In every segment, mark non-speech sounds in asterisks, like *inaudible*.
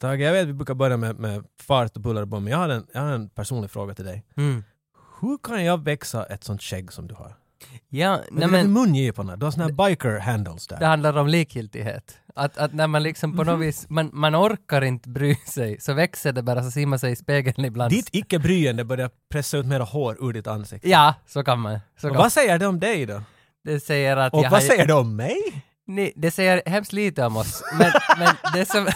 Tage, jag vet vi brukar börja med, med fart och bullar och bom, men jag har, en, jag har en personlig fråga till dig. Mm. Hur kan jag växa ett sånt skägg som du har? Ja, Men nej det är men mungiporna, du har såna här biker handles det där. handlar om likgiltighet. Att, att när man liksom på Mhm. något vis, man, man orkar inte bry sig, så växer det bara, så ser man sig i spegeln ibland. Ditt icke-bryende börjar pressa ut mera hår ur ditt ansikte. Ja, så kan man. Så Och kan vad säger det om dig då? Det säger att Och jag vad har- säger det om mig? Nej, det säger hemskt lite om oss, *laughs* men, men det, som,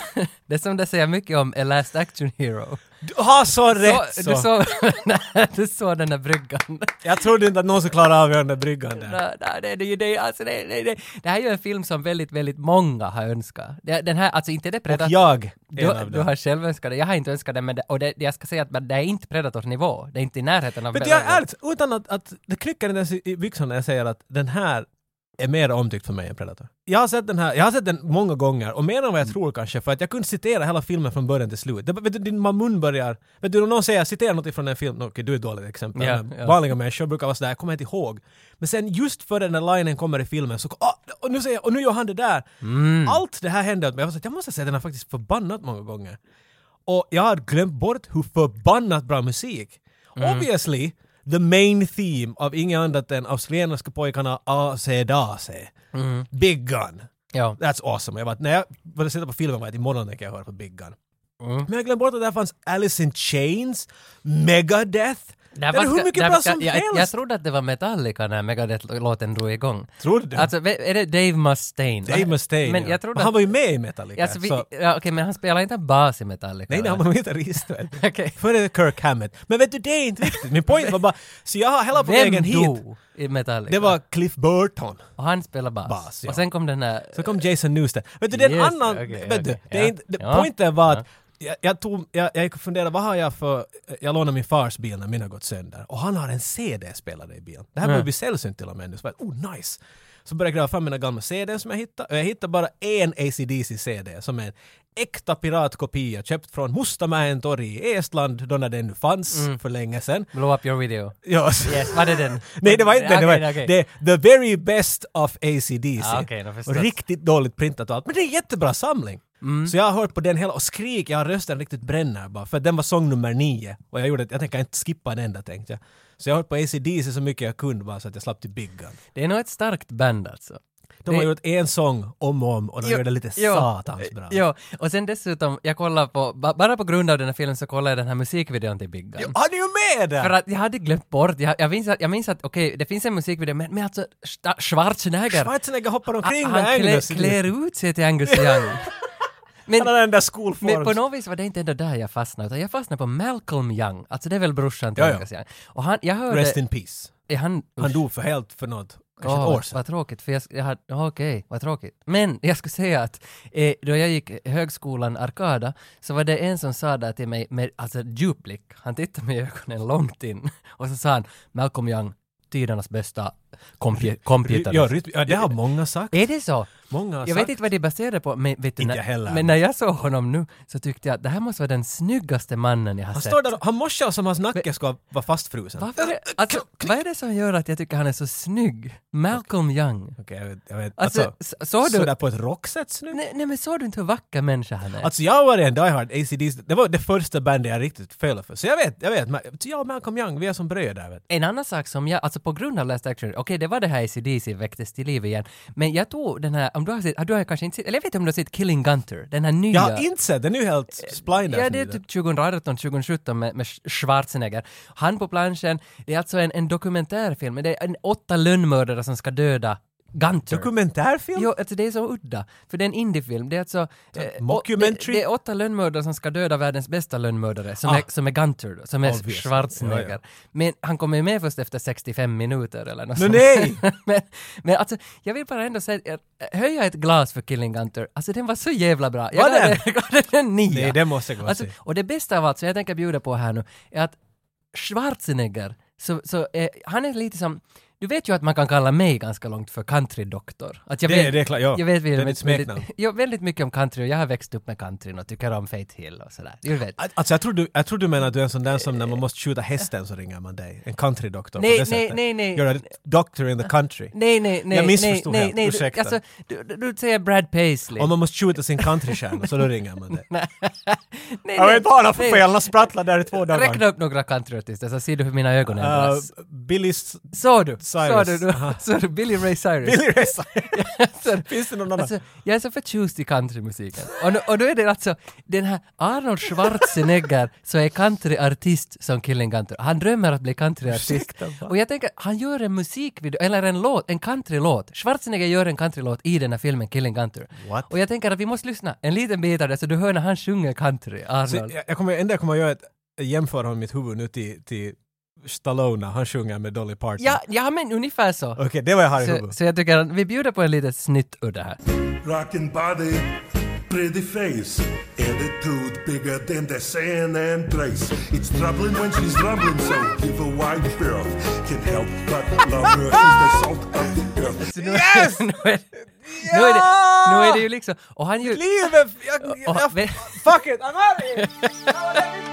det som det säger mycket om är Last Action Hero. Du har så rätt Så, så! Du, såg, *laughs* nej, du såg den där bryggan. Jag trodde inte att någon skulle klara av den där bryggan *laughs* där. Nej, nej, det, det, det, alltså, det, det, det. det här är ju en film som väldigt, väldigt många har önskat. Det- Den här, alltså inte det Och Predator. jag, är en Du, av du dem. har själv önskat det, jag har inte önskat det, men det, och det, jag ska säga att men det är inte Predator-nivå. Det är inte i närheten av Men jag är ärligt, utan att, att det krycker inte ens i i byxorna när jag säger att den här är mer omtyckt för mig än Predator. Jag har sett den här, jag har sett den många gånger och mer än vad Mm. jag tror kanske för att jag kunde citera hela filmen från början till slut. Det, vet du, din man mun börjar, vet du om någon säger citera något ifrån en film, okej du är ett dåligt exempel, Ja, men ja. vanliga människor brukar vara sådär, jag kommer inte ihåg. Men sen just före den där linen kommer i filmen så, ah, och nu säger jag, och nu gör han det där. Mm. Allt det här hände åt mig, jag var så att jag måste säga den här faktiskt förbannat många gånger. Och jag hade glömt bort hur förbannat bra musik. Mm. Obviously, the main theme av inget annat än australienska pojkarna AC Dase. Mm. Big Gun. Ja. That's awesome. Jag bara, när jag började sitta på filmen var jag att imorgon tänker jag höra på Big Gun. Mm. Men jag glömde bort att där fanns Alice in Chains, Megadeth. Det Där är var hur ska- mycket där bra ska- som jag, helst! Jag trodde att det var Metallica när Megadeth-låten drog igång. Trodde du? Alltså, ve- är det Dave Mustaine? Dave Mustaine, Men ja. jag trodde han att- var ju med i Metallica. Alltså, vi, så, ja, Okej, men han spelar inte bas i Metallica? nej, det har eller? man nog inte registrerat. *laughs* Okej. Före Kirk Hammett. Men vet du, det är inte viktigt. Min poäng var bara, så jag har hela på Vem vägen hit. dog i Metallica? Det var Cliff Burton. Och han spelar bas. Bas, ja. Och sen kom den här... Så kom Jason Newsted. Vet du, det är en Just det, annan... okej, vet du, okej, det ja. är inte, det, Ja. Poängen var att jag, jag, tog, jag, jag gick och funderade, vad har jag för... Jag lånade min fars bil när min har gått sönder. Och han har en CD-spelare i bilen. Det här börjar bli sällsynt till och med nu. Så bara, oh nice! Så började jag gräva fram mina gamla CD som jag hittade. Och jag hittade bara en ACDC-CD som är en äkta piratkopia köpt från Mustamäen torg i Estland då när den nu fanns för länge sedan. Blow up your video. Ja, Mm. Yes, var det den? *laughs* Nej det var inte det. Var, Okej, okej. det är the very best of ACDC. Ah, okej, då förstås. och riktigt dåligt printat och allt. Men det är en jättebra samling. Mm. Så jag har hört på den hela och skrik, jag har rösten riktigt bränner bara. För den var sång nummer nio. Och jag gjorde, jag tänker inte skippa en enda tänkte jag. Så jag har hört på ACDC så mycket jag kunde bara så att jag slapp till Big Gun. Det är nog ett starkt band alltså. De har Det- gjort en sång om och om och de Jo, gör det lite jo, satans bra. Jo, och sen dessutom, jag kollar på, ba- bara på grund av den här filmen så kollar jag den här musikvideon till Big Gun. Jo, Han är ju med För där! att jag hade glömt bort, jag, jag minns att, jag minns att okej, det finns en musikvideo, men, men alltså Sta- Schwarzenegger, Schwarzenegger hoppar omkring han, med han Agnes. klär, klär ut sig till *laughs* Angus Young. Men, Han har den där men på skolformen. något vis var det inte ändå där jag fastnade, utan jag fastnade på Malcolm Young, alltså det är väl brorsan till Ja, ja. Angus Young. Och han, jag hörde... Rest in peace. är han, Han dog för helt för något, kanske Åh, ett år vad, sedan. vad tråkigt, för jag, sk- jag hade, ja, okej, vad tråkigt. Men jag skulle säga att eh, då jag gick högskolan Arkada så var det en som sa där till mig med alltså djuplick, han tittade mig i ögonen långt in och så sa han Malcolm Young, tidernas bästa kompi- komputer. Ja, rytm, ja, det har många sagt. är det så? Många har Jag sagt. vet inte vad det baserade på, men, vet du, Inte jag när, heller. men när jag såg honom nu så tyckte jag att det här måste vara den snyggaste mannen jag har han sett. står där och- han morsar som hans nacke ska vara fastfrusen. Varför är, alltså, vad är det som gör att jag tycker han är så snygg? Malcolm Young. Okej, jag vet. Jag vet. Alltså, Alltså, s- såg du? sådär på ett rockset snyggt. Nej, nej men såg du inte hur vacker människa han är? Alltså jag har varit en diehard ACDC, det var det första bandet jag riktigt föll för. Så jag vet, jag vet. Ma- Jag och Malcolm Young, vi är som bröder. Vet. en annan sak som jag, alltså på grund av Last Action, okej det var det här ACDC väcktes till liv igen, men jag tog den här, om du har sett, ah, du har kanske inte sett, eller jag vet inte om du har sett Killing Gunter, den här nya. Jag har inte sett den, nu är helt splinders. Eh, Ja, det är typ 2018, 2017 med, med Sch- Schwarzenegger. Han på planschen, det är alltså en, en dokumentärfilm, det är en åtta lönnmördare som ska döda Gunter. Dokumentärfilm? Jo, alltså det är så udda. För det är en indiefilm. Det är alltså... eh, mockumentary? Det, det är åtta lönnmördare som ska döda världens bästa lönnmördare, som, Ah. är, som är Gunter då, som är Obviously. Schwarzenegger. Ja, ja. Men han kommer ju med först efter 65 minuter eller något Men sånt. nej! *laughs* men, men alltså, jag vill bara ändå säga, eh, höja ett glas för Killing Gunter. Alltså den var så jävla bra. Jag Var gav den? *laughs* jag gav den en nia. Nej, det måste jag gå och Alltså, se. och det bästa av allt, som jag tänker bjuda på här nu, är att Schwarzenegger, så, så, eh, han är lite som Du vet ju att man kan kalla mig ganska långt för countrydoktor. Att jag Det, det är klart, ja. Jag vet det är ditt väldigt, väldigt, smeknamn. jag väldigt mycket om country och jag har växt upp med countryn och tycker om Faith Hill och sådär. Du vet. Eh. Alltså jag tror, du, jag tror du menar att du är en sån där som när man måste skjuta hästen så ringer man dig. En countrydoktor Nej, på det nej, sättet. nej, nej. You're a doctor in the country. Nej, nej, nej. Jag missförstod nej, nej, helt, nej, ursäkta. Du, alltså, du, du, du säger Brad Paisley. Om man måste skjuta sin countrystjärna så då ringer man dig. nej, Jag vet bara för nej. fel, han sprattlar där i två dagar. Räkna upp några countryartister så ser du hur mina ögon Uh, ändras. Billy, S- Såg du? Såg Cyrus. du? du- Aha. Såg du? Billy Ray Cyrus. Billy Ray Cyrus. Såg du? Finns det någon annan? *laughs* Alltså, jag är så förtjust i countrymusiken. Och, nu- och då är det alltså den här Arnold Schwarzenegger som är countryartist som Killing Gunther. Han drömmer att bli countryartist. Ursäkta, va? Och jag tänker, han gör en musikvideo, eller en låt, en countrylåt. Schwarzenegger gör en countrylåt i den här filmen Killing Gunther. What? Och jag tänker att vi måste lyssna en liten bit av det så du hör när han sjunger country, Så Arnold. jag, jag kommer, enda jag kommer att göra är att jämföra honom i mitt huvud nu till, till Stallone när han sjunger med Dolly Parton. Ja, ja men ungefär så. Okej, det var jag har i Så, huvudet. så jag tycker att vi bjuder på en liten snitt ur det här. Rocking body, pretty face, attitude bigger than the sand and trace. It's troubling when she's rumbling, so give a wide berth. Can help but love her, she's the salt of the earth. Yes! *laughs* nu, är, nu, är det, nu är det ju liksom... Och han ju... Livet! Jag, Och, jag, vet- fuck it, I'm out of here!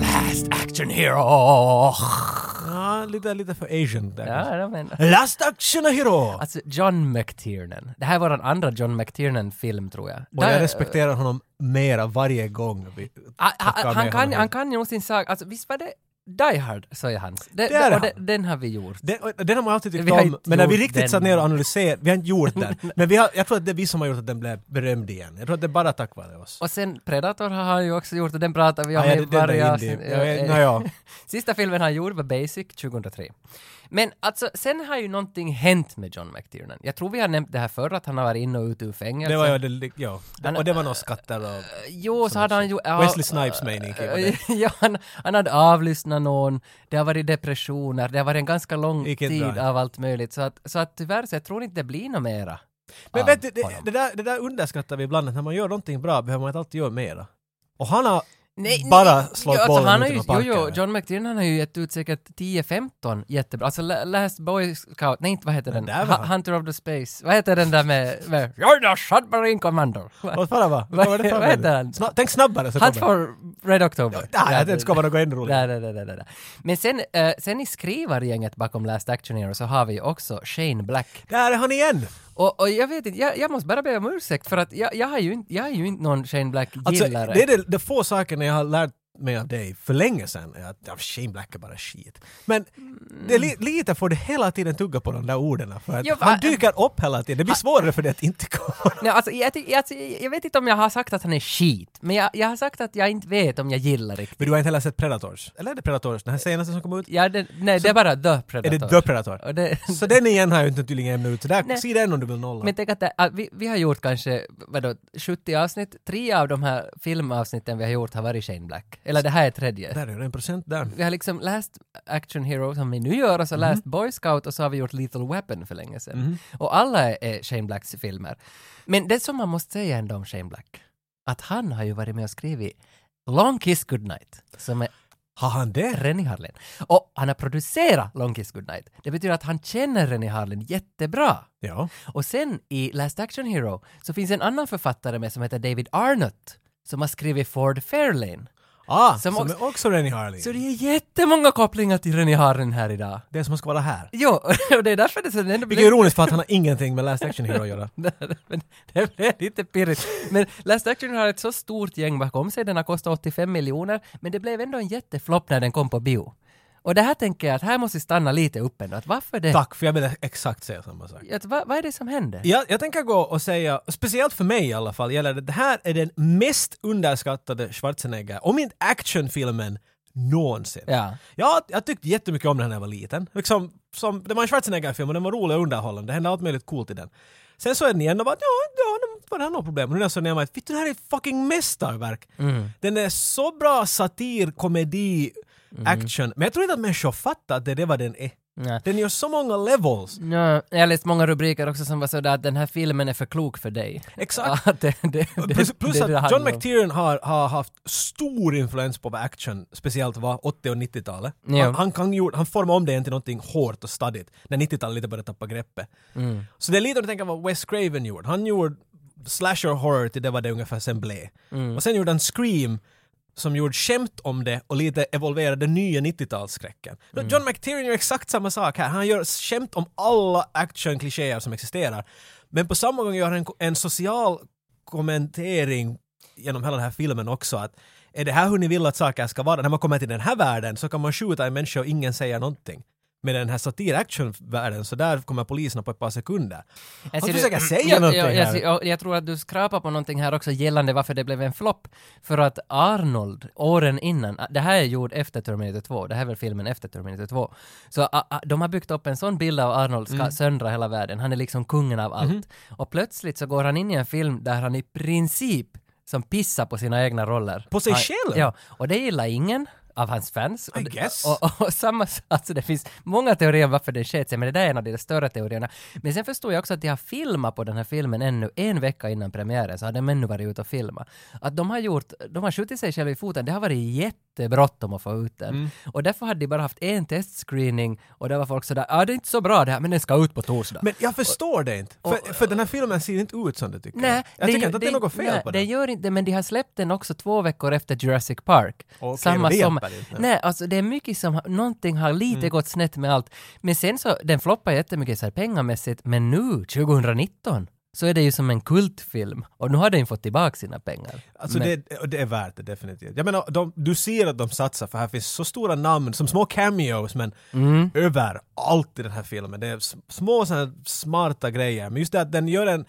Last action hero! Ja, Ah, lite, lite för asian där. Ja, jag menar. Last action hero! Alltså John McTiernan. Det här var den andra John McTiernan-film tror jag. Och Där- jag respekterar honom mera varje gång vi Ah, ah, tackar han, med kan, honom. han kan ju nog sin sak. Alltså visst var det Die Hard, sa jag hans. Det, Det är det, och han. det, den har vi gjort. Den, och den har man alltid tyckt Vi har om, inte men när vi gjort riktigt den. satt ner och analyserade, vi har inte gjort *laughs* den. Men vi har, jag tror att det är vi som har gjort att den blev berömd igen. Jag tror att det är bara tack vare oss. Och sen Predator har han ju också gjort och den pratar vi Ja, om Ah, ja, i det- den där varje indie- avsnitt. Eh, ja, ja, ja. *laughs* Sista filmen han gjorde var Basic 2003. Men alltså, sen har ju någonting hänt med John McTiernan. Jag tror vi har nämnt det här förr, att han har varit inne och ut ur fängelse. Det var, ja, det, ja. Han- Eh, och det var nog skatter och... Jo, så Som hade en han ju... ja, Wesley Snipes mening, var det. *laughs* ja, han, han hade avlyssnat någon, det har varit depressioner, det har varit en ganska lång Gick inte tid bra. av allt möjligt. Så att, så att tyvärr så jag tror inte det blir något mera. Men av vet du, det, honom. det, där, det där underskattar vi ibland, att när man gör någonting bra behöver man inte alltid göra mera. Och han har... Nej, bara nej, slå jo, bollen han har ut ju, genom jo, parken, jo, eller? John McTiernan har ju gett ut säkert 10-15 jättebra, alltså La- Last Boy Scout, nej inte vad heter den? där var Hu- han. Hunter of the Space, vad heter den där med, med You're the Submarine Commander? Vad fan var *laughs* Vad- Vad var det vad heter för han? Sna, Tänk snabbare så Hunt kommer det. for Red October. Nej, det ska vara något ännu roligare. Nej, nej, nej, nej, nej. Men sen, eh, sen i skrivargänget bakom Last Action Hero så har vi ju också Shane Black. Där är han igen! Och, och jag vet inte, jag, jag måste bara be om ursäkt för att jag, jag, har ju inte, jag är ju inte någon Shane Alltså, Black-gillare. det är det, de få sakerna jag har lärt mig av dig för länge sedan. är Att ja, Shane Black är bara shit. Men det är li, lite får du hela tiden tugga på de där orden. För att Jo, Mm. va- han dyker upp hela tiden. Det blir svårare för dig att inte komma. Nej, alltså, jag, ty- alltså, jag vet inte om jag har sagt att han är skit, men jag, jag har sagt att jag inte vet om jag gillar riktigt. Men du har inte heller sett Predators? Eller är det Predators? Den här senaste som kom ut? Ja, det, nej, det är bara The Är Predator. det The Predator? Och det, *laughs* Så den igen har jag inte tydligen ämnat ut. Så där, Nej. se den om du vill nolla. men tänk att det, att vi, vi har gjort kanske vadå, 70 avsnitt, tre av de här filmavsnitten vi har gjort har varit Shane Black. Eller det här är tredje. Där är det en procent där. Vi har liksom Last Action Hero som vi nu gör och så Last Boy Scout och så har vi gjort Lethal Weapon för länge sedan. Och alla är- är Shane Blacks filmer. Men det som man måste säga ändå om Shane Black, att han har ju varit med och skrivit Long Kiss Goodnight, som är Har han det? Rennie Harlin. Och han har producerat Long Kiss Goodnight. Det betyder att han känner Rennie Harlin jättebra. Ja. Och sen i Last Action Hero så finns en annan författare med som heter David Arnott, som har skrivit Ford Fairlane. Ah, Som som, också- är också Rennie Harlin. Så det är jättemånga kopplingar till Rennie Harlin här idag. Det som ska vara här. Jo, och det är därför det sen ändå Vilket är blev... ironiskt för att han har ingenting med Last Action Hero att *laughs* göra. Men det blev lite pirrigt. Men Last Action har ett så stort gäng bakom sig, den har kostat 85 miljoner, men det blev ändå en jätteflopp när den kom på bio. Och det här tänker jag att här måste vi stanna lite upp ändå, att varför det? Tack, för jag ville exakt säga samma sak. Att, vad, vad är det som händer? Jag, jag tänker gå och säga, speciellt för mig i alla fall, gäller det, det här är den mest underskattade Schwarzenegger, om inte actionfilmen, någonsin. Ja. Jag, jag tyckte jättemycket om den när jag var liten. Liksom, som, det var en Schwarzenegger-film och den var rolig och underhållande. Det hände allt möjligt coolt i den. Sen såg jag den igen och bara ja, ja det var det här något problem. Och nu när jag såg den igen fick den här är ett fucking mästerverk. Mm. Den är så bra satir, komedi, Mm. action. Men jag tror inte att människor fattar att det, det är vad den är. Nej. Den gör så många levels. Ja, jag har läst många rubriker också som var sådär att den här filmen är för klok för dig. Exakt. Ja, det, det, *laughs* det, Plus, plus det, det att handlar John om. McTiernan har, har haft stor influens på vad action, speciellt var 80 och 90-talet. Ja. Han, han, kan, ju- han formade om det igen till någonting hårt och stadigt när 90-talet lite började tappa greppet. Så det är lite om du tänker vad Wes Craven gjorde. Han gjorde slasher horror till det var det ungefär sen blev. Och sen gjorde han Scream som gjorde skämt om det och lite evolverade den nya 90-talsskräcken. Mm. John McTiernan gör exakt samma sak här. Han gör skämt om alla actionklichéer som existerar. Men på samma gång gör han en, en social kommentering genom hela den här filmen också att är det här hur ni vill att saker ska vara? När man kommer till den här världen så kan man skjuta en människa och ingen säger någonting. Men i den här satir-action-världen så där kommer poliserna på ett par sekunder. Han ser försöker du- *clears throat* säga jag, någonting jag, jag, här. ser- jag, jag tror att du skrapar på någonting här också gällande varför det blev en flopp. För att Arnold, åren innan, det här är gjord efter Terminator 2, det här är väl filmen efter Terminator 2. Så a, a, de har byggt upp en sån bild av Arnold ska Mm. söndra hela världen, han är liksom kungen av Mhm. allt. Och plötsligt så går han in i en film där han i princip som pissar på sina egna roller. På sig han, själv? Ja, och det gillar ingen av hans fans. I guess. Och, och, och samma, alltså det finns många teorier om varför det sket sig, men det där är en av de större teorierna. Men sen förstod jag också att de har filmat på den här filmen ännu en vecka innan premiären, så har de ännu varit ute och filmat. Att de har gjort, de har skjutit sig själva i foten, det har varit jättebråttom att få ut den. Och därför hade de bara haft en testscreening och där var folk sådär, ja ah, det är inte så bra det här, men den ska ut på torsdag. Men jag förstår det inte. För, för den här filmen ser inte ut som du tycker. Nej, jag tycker gör- inte att det är något fel nej, på det den. gör inte men de har släppt den också två veckor efter Jurassic Park. Okej, men det hjälper inte. Mm. Nej, alltså det är mycket som, har- någonting har lite gått snett med allt. Men sen så, den floppar jättemycket så här pengamässigt, men nu, 2019, så är det ju som en kultfilm. Och nu har den fått tillbaka sina pengar. Alltså men, det, och det är värt det definitivt. Jag menar, de, du ser att de satsar för här finns så stora namn som små cameos men Mm. överallt i den här filmen. Det är s- små sådana smarta grejer. Men just det att den gör en...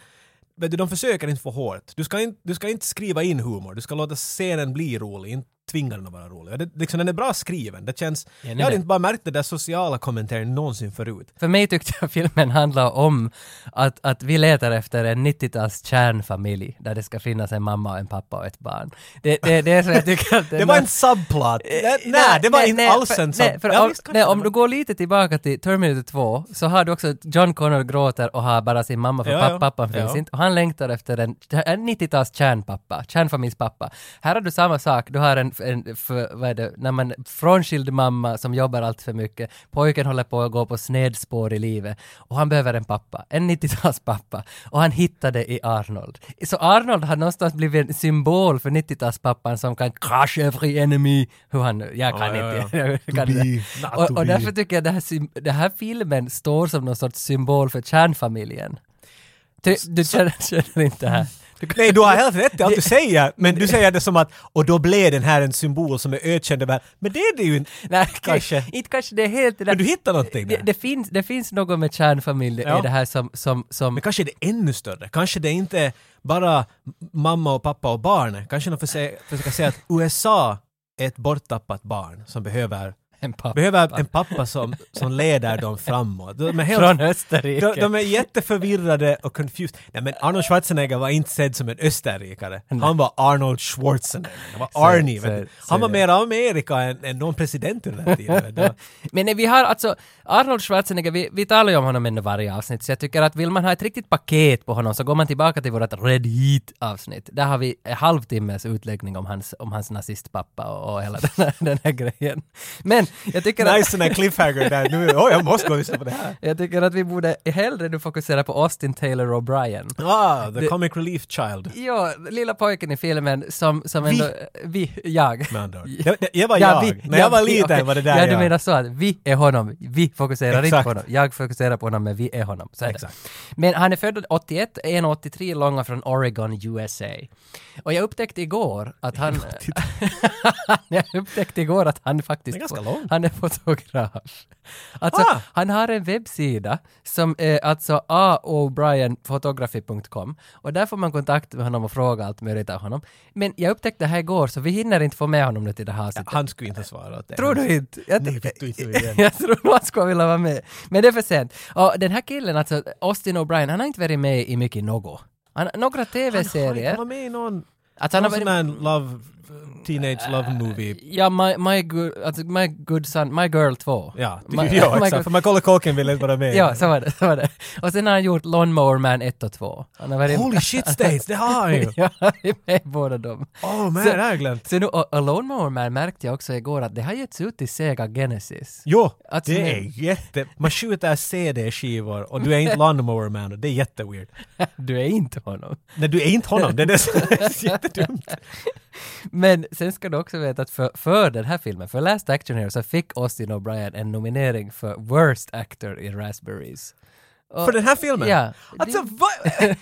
Vet du, de försöker inte för hårt. Du ska inte, du ska inte skriva in humor. Du ska låta scenen bli rolig, inte tvinga den att vara rolig. Och Det, liksom, den är bra skriven. Det känns... den är jag hade det. inte bara märkt det där sociala kommentaren någonsin förut. För mig tyckte jag *laughs* filmen handlar om att, att vi letar efter en 90-tals kärnfamilj där det ska finnas en mamma, och en pappa och ett barn. Det, det, det är så jag tycker att *laughs* den Det var här- en subplot! Eh, Nej, nej, det var inte alls för, en Eh, nej, subplot. för Ja, om, visst, kanske nej, det om var- du går lite tillbaka till Terminator 2 så har du också att John Connor gråter och har bara sin mamma för Ja, papp, ja. pappan finns Ja. inte. Och han längtar efter en, en 90-tals kärnpappa, kärnfamiljspappa. Här har du samma sak, du har en, en för, vad är det, när man, frånskild mamma som jobbar allt för mycket. Pojken håller på att gå på snedspår i livet och han behöver en pappa, en 90-tals pappa. Och han hittade i Arnold. Så Arnold har någonstans blivit en symbol för 90-talspappan som kan crush every enemy, hur han nu, jag kan Ja, ja, inte. ja. *laughs* Jag kan inte. not Och, to och be. därför tycker jag den här, sym- den här filmen står som någon sorts symbol för kärnfamiljen. Du, du känner, *laughs* känner inte det här? Du, Nej, du har helt rätt i allt du säger, men du säger det som att och då blev den här en symbol som är ökänd över, men det är det ju inte. nej, *laughs* kanske. Inte kanske det är helt det där. Men du hittar någonting det, där. det, finns, det finns något med kärnfamilj Ja. i det här som... som, som Men kanske är det ännu större, kanske det är inte är bara mamma och pappa och barn, kanske de försöker, försöker säga att USA är ett borttappat barn som behöver, en pappa. behöver en pappa som, som leder dem framåt. De är helt Från Österrike. De, de är jätteförvirrade och confused. Nej men Arnold Schwarzenegger var inte sedd som en österrikare. Han var Arnold Schwarzenegger. Han var Så- Arnie. så- vet du. så Han var det. mer Amerika än, än någon president under den här tiden. vet *laughs* du. Men nej, vi har alltså, Arnold Schwarzenegger, vi, vi talar ju om honom ändå varje avsnitt, så jag tycker att vill man ha ett riktigt paket på honom så går man tillbaka till vårt Red Heat-avsnitt. Där har vi en halvtimmes utläggning om hans, om hans nazistpappa och, och hela *laughs* den här, den här grejen. Men jag tycker att... Nice sån här cliffhanger där. Nu, oh, jag måste gå och lyssna på det här. Jag tycker att vi borde hellre nu fokusera på Austin Taylor O'Brien. Ah, the comic relief child. Ja, lilla pojken i filmen som, som ändå... Vi, jag. Med andra ord. Det, det, jag var jag. När jag var vi, liten okej. var det där Ja, jag. du menar så att vi är honom, vi fokuserar inte Exakt. på honom. Jag fokuserar på honom, men vi är honom. Så är det. Exakt. Men han är född 81, 1,83 lång och från Oregon, USA. Och *laughs* jag upptäckte igår att han... jag upptäckte igår att han faktiskt... Det är ganska lång. Han är fotograf. Alltså, Ah! han har en webbsida som är alltså aobrienphotography.com och där får man kontakt med honom och fråga allt möjligt av honom. Men jag upptäckte det här igår så vi hinner inte få med honom nu till det här avsnittet. Han skulle inte svara åt det. Tror du inte? Jag, Nej, *laughs* vet du inte hur det är. jag tror nog han skulle vilja vara med. Men det är för sent. Och den här killen, alltså Austin O'Brien, han har inte varit med i mycket något. Han, några Han TV-serier. var med i någon, Att han han har någon sån varit... här love, teenage love movie. Ja, my, my, good, alltså, my good son, My Girl 2. Ja, My- oh ja my exakt. good- För Macaulay Culkin ville inte vara med. Ja, så var det. Så var det. Och sen har han gjort Lawnmower Man 1 och 2. Han har varit *laughs* Holy shit States, det har *laughs* han ju! Ja, han är med i båda dem. Oh man, Så- det har jag glömt. Så nu, och, och Lawnmower Man märkte jag också igår att det har getts ut i Sega Genesis. *laughs* Jo, Att som det är- är jätte... Man skjuter CD-skivor och du är inte Lawnmower Man och det är jätteweird. Du är inte honom. Nej, du är inte honom, det är det som *laughs* är jättedumt. Men sen ska du också veta att för, för den här filmen, för Last Action Hero, så fick Austin O'Brien en nominering för Worst Actor i Raspberries. Och- För den här filmen? Ja. Alltså Det- vad...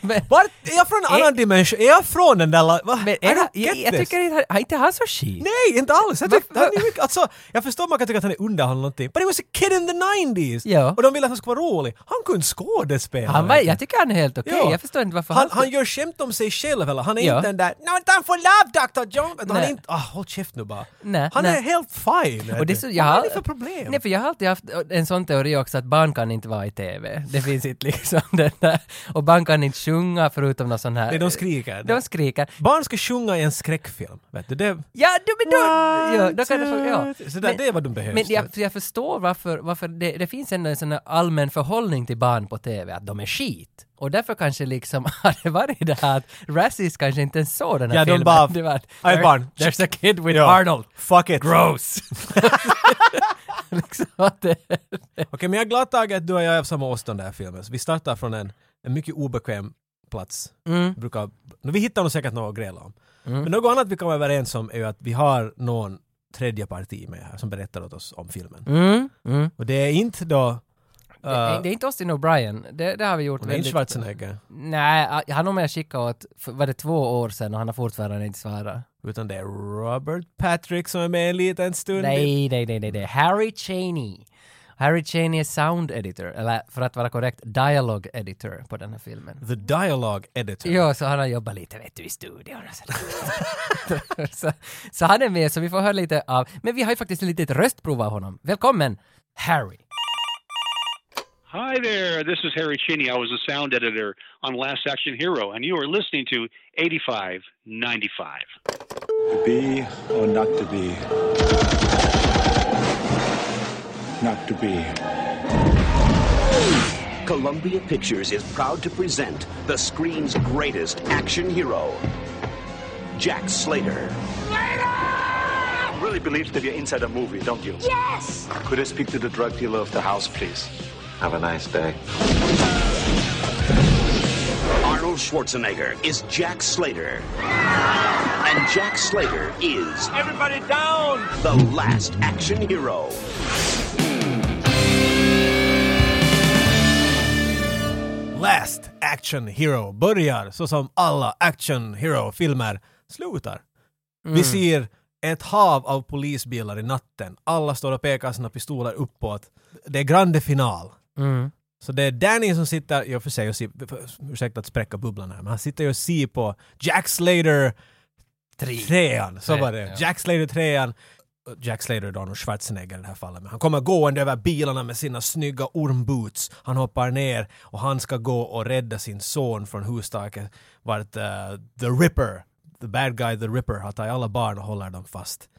Men- Vart, är jag från en *laughs* Är- annan dimension? Är jag från den där... la- Va? Men I är, don't jag, get jag, jag this. tycker inte, han- inte han så skit. Nej, inte alls! Jag, tyckte, Varför- han är mycket, alltså, jag förstår man kan tycka att han är underhållande eller någonting, but he was a kid in the 90s! Ja. Och de ville att han skulle vara rolig. Han kunde skådespela! Han var, jag tycker han är helt okej, Ja. jag förstår inte varför han, han... han gör skämt om sig själv eller? Han är Ja. inte den där “No time for love Dr. John”. Han är Nej. inte... Ah, håll käft nu bara. Nej, han nej. är helt fine. Och det är vet så, du. jag, Vad har- är det för problem? Nej, för jag har alltid haft en sån teori också att barn kan inte vara i TV. Det finns inte liksom *laughs* den där. Och barn kan inte sjunga förutom någon sån här... Nej, de skriker. De skriker. Barn ska sjunga i en skräckfilm. Vet du? Det... Ja, du, men då... Ja, då One, kan du få, ja. two, Så där, Men- det är vad de behöver. Men jag, för jag förstår varför, varför det, det finns ändå en sån här allmän förhållning till barn på TV, att de är skit. Och därför kanske liksom *laughs* har det varit det här att Razzies kanske inte ens såg den här Ja, de filmen. bara, *laughs* Det var att, "Ah, ett barn." "There- There's a kid with Ja. Arnold. *laughs* Fuck it. Okej, Gross! liksom *laughs* att det, men jag är glad Tage att du och jag är på samma ås den där filmen. Så vi startar från en, en mycket obekväm plats. mm, Vi Brukar, vi hittar nog säkert något att gräla om. Men något annat vi kan vara överens om är ju att vi har någon tredje parti med här som berättar åt oss om filmen. mm, mm. Och det är inte då... Uh, det, det, det är inte Austin O'Brien, det, det har vi gjort är inte Schwarzenegger, Nej, han har jag skickat åt, för, var det två år sedan och han har fortfarande inte svarat. utan det är Robert Patrick som är med en liten stund. Nej, nej, nej, nej, nej. Harry Cheney. Harry Cheney är sound editor, eller för att vara korrekt, dialog editor på den här filmen. The Dialogue Editor. Ja, så han har jobbat lite vet du, i studion och sådär. *laughs* så, så han är med, så vi får höra lite av... Men vi har ju faktiskt ett litet röstprov av honom. Välkommen, Harry! Hi there. This is Harry Cheney. I was a sound editor on Last Action Hero, and you are listening to 8595. To be or not to be? Not to be. Columbia Pictures is proud to present the screen's greatest action hero, Jack Slater. really believe that you're inside a movie, don't you? Yes! Could I speak to the drug dealer of the house, please? Have a nice day. Arnold Schwarzenegger is Jack Slater. And Jack Slater is. Everybody down! The last action hero. Last Action Hero börjar så som alla Action Hero-filmer slutar. Mm. Vi ser ett hav av polisbilar i natten. Alla står och pekar sina pistoler uppåt. Det är grande final. Mm. Så det är Danny som sitter, i och för sig, och ser, ursäkta att spräcka bubblan här, men han sitter ju och ser på Jack Slater trean. Så Tre, var det. ja. Jack Slater trean. Jack Slater då, Arnold Schwarzenegger i det här fallet. Men han kommer gående över bilarna med sina snygga ormboots. Han hoppar ner och han ska gå och rädda sin son från hustaket vart eh, The Ripper, the bad guy The Ripper, har tagit alla barn och håller dem fast.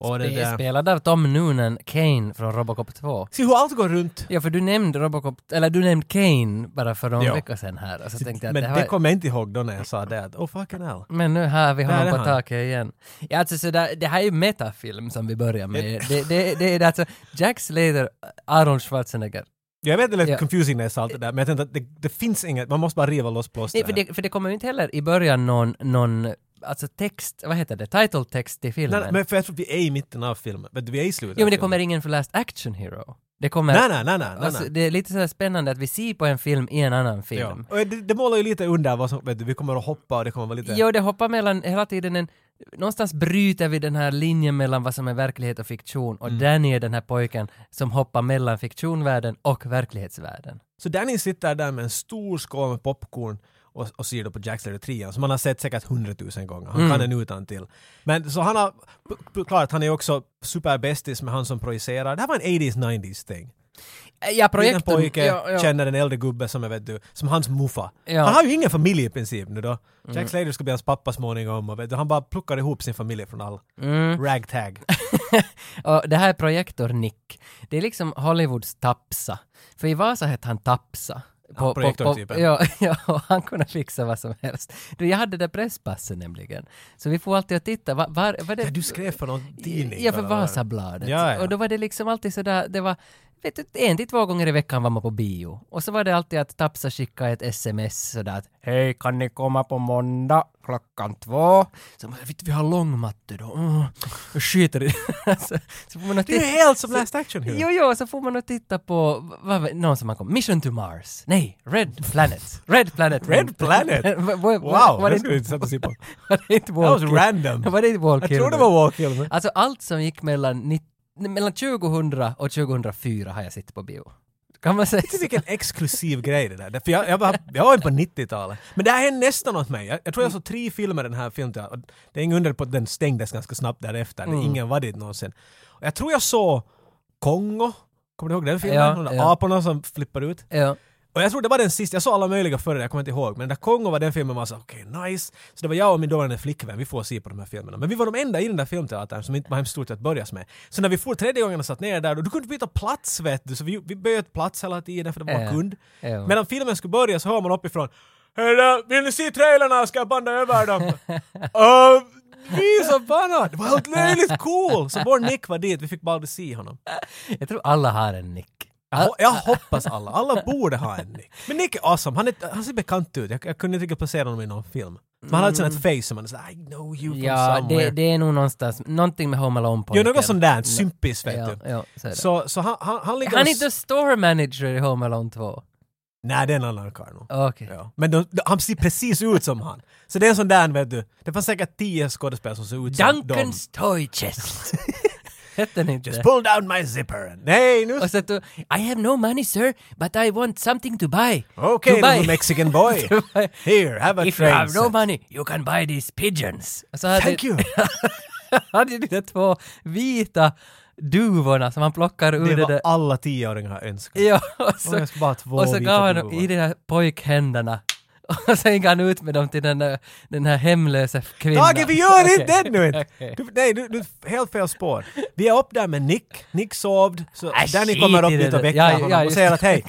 Och det Det är där. spelad av Tom Noonan Kane från Robocop 2. Se hur allt går runt. Ja, för du nämnde Robocop, eller du nämnde Kane bara för någon Ja. vecka sedan här. Och så tänkte jag Men att det det, här var- kommer jag inte ihåg då när jag sa det. att, Oh fucking hell. Men nu har vi Där honom är på han. taket igen. Ja, alltså, så där, det här är ju metafilm som vi börjar med. det, det, det är alltså Jack Slater, Arnold Schwarzenegger. Jag vet det lät Ja. confusing när jag sa allt det där, men jag tänkte att det, det finns inget, man måste bara riva loss Nej, plåstret. för det, för det kommer ju inte heller i början någon, någon alltså text, vad heter det, title text till filmen. Nej, nej, men för jag tror att vi är i mitten av filmen, men vi är i slutet. jo, av men det filmen. kommer ingen för Last Action Hero. Det kommer... Nej, nej, nej, nej, nej. Alltså, det är lite så här spännande att vi ser på en film i en annan ja. film. och det, det målar ju lite under vad som, vet du, vi kommer att hoppa och det kommer att vara lite... Jo, det hoppar mellan hela tiden en någonstans bryter vi den här linjen mellan vad som är verklighet och fiktion och Mm. Danny är den här pojken som hoppar mellan fiktionvärlden och verklighetsvärlden. Så Danny sitter där med en stor skål med popcorn och, och ser då på Jack Slater 3 som han har sett säkert hundratusen gånger. Han Mm. kan den utan till. Men så han har, p- klart han är också superbästis med han som projicerar. Det här var en 80s 90s thing. Ja, Liten projektorn. pojke ja, ja. känner en äldre gubbe som är, vet du, som hans muffa. Ja. Mm. Han har ju ingen familj i princip nu då. Jack Slater ska bli hans pappa småningom och vet du, han bara plockar ihop sin familj från all Mm. *laughs* ragtag. Och det här är Projektor-Nick. Det är liksom Hollywoods Tapsa. För i Vasa hette han Tapsa. Ja, projektortypen. ja, *laughs* ja, och han kunde fixa vad som helst. Du, jag hade det där presspasset nämligen. Så vi får alltid att titta. Var, var, var det... Ja, du skrev för någon tidning. Ja, för eller vad? Vasabladet. Ja, ja. Och då var det liksom alltid sådär, det var vet du, en till två gånger i veckan var man på bio. Och så var det alltid att Tapsa skickade ett sms sådär att hej kan ni komma på måndag klockan två? Så man, vet du, vi har långmatte då. Mm, jag skiter i *laughs* det. så, så får man att Det är ju helt som Last *laughs* Action Hero. Jo, jo, så får man att titta på vad, var- någon som har kommit, Mission to Mars. Nej, Red Planet. Red Planet. Red *laughs* Planet? *laughs* Wow, det skulle jag inte sätta sig på. Var det inte That was Wall Kill- random. *laughs* Var det inte Wall *laughs* Jag tror det Kilmer? var Walk Kilmer. Alltså allt som gick mellan, nitt- mellan 2000 och 2004 har jag sett på bio. Kan man *laughs* säga Inte vilken exklusiv grej det där. För jag, jag, var, jag var ju på 90-talet. Men det här hände nästan åt mig. Jag, jag tror jag såg tre filmer i den här filmteatern. Och Det är ingen under på att den stängdes ganska snabbt därefter. Det är ingen var dit någonsin. Och jag tror jag såg Kongo. Kommer du ihåg den filmen? Ja, De där ja. aporna som flippar ut. Ja. Och jag tror det var den sista, jag såg alla möjliga före det, jag kommer inte ihåg. Men där Kongo var den filmen var så okej, nice. Så det var jag och min dåvarande flickvän, vi får se på de här filmerna. Men vi var de enda i den där filmteatern som inte var hemskt stort till att börjas med. Så när vi for tredje gången och satt ner där, då du kunde byta plats vet du. Så vi, vi bytte plats hela tiden för det var Ja. kund. Ja. Medan filmen skulle börja så hör man uppifrån Hej då, vill ni se trailerna? Ska jag banda över dem? uh, vi så förbannat! Det var helt löjligt cool! Så vår Nick var dit, vi fick bara aldrig se honom. Jag tror alla har en nick. Jag, ho- jag hoppas alla. Alla borde ha en Nick. Men Nick är awesome. Han, är, han ser bekant ut. Jag, jag kunde inte riktigt placera honom i någon film. Men han har ett sånt här face som man är såhär I know you from Mm. Ja, det, somewhere. det är nog någonstans, någonting med Home Alone jo, pojken. något sånt där. Sympis vet ja, du. ja, så är det. Så, så han, han, han ligger... han är och s- inte store manager i Home Alone 2. Nej, det är en annan karl nog. Okej. Ja. Men de, de, han ser precis ut som han. Så det är en sån där vet du. Det fanns säkert tio skådespelare som såg ut som dem. Duncans Toy *laughs* Chest. Hette den inte? Just pull down my zipper. and- Nej, nu... Och så att du, I have no money sir, but I want something to buy. Okej, to buy. little *laughs* Mexican boy. Dubai. Here, have a If Alltså, you train have no set. money, you can buy these pigeons. Och så hade- Thank *laughs* you! hade ju de där två vita duvorna som han plockar ur det, Det var där. alla tioåringar önskar. Ja, och så, Åh, jag ska bara ha två och så vita gav han duvor. i de där pojkhänderna. *laughs* Och sen gick han ut med dem till den där, den här hemlösa kvinnan. Tage, vi gör inte Okej. det nu! inte. *laughs* Okej. Du, nej, du, du är helt fel spår. Vi är upp där med Nick, Nick sovd, så Äh, Danny skit kommer upp i det dit och där. väcker Ja, honom ja, och just säger det. *laughs* att hej,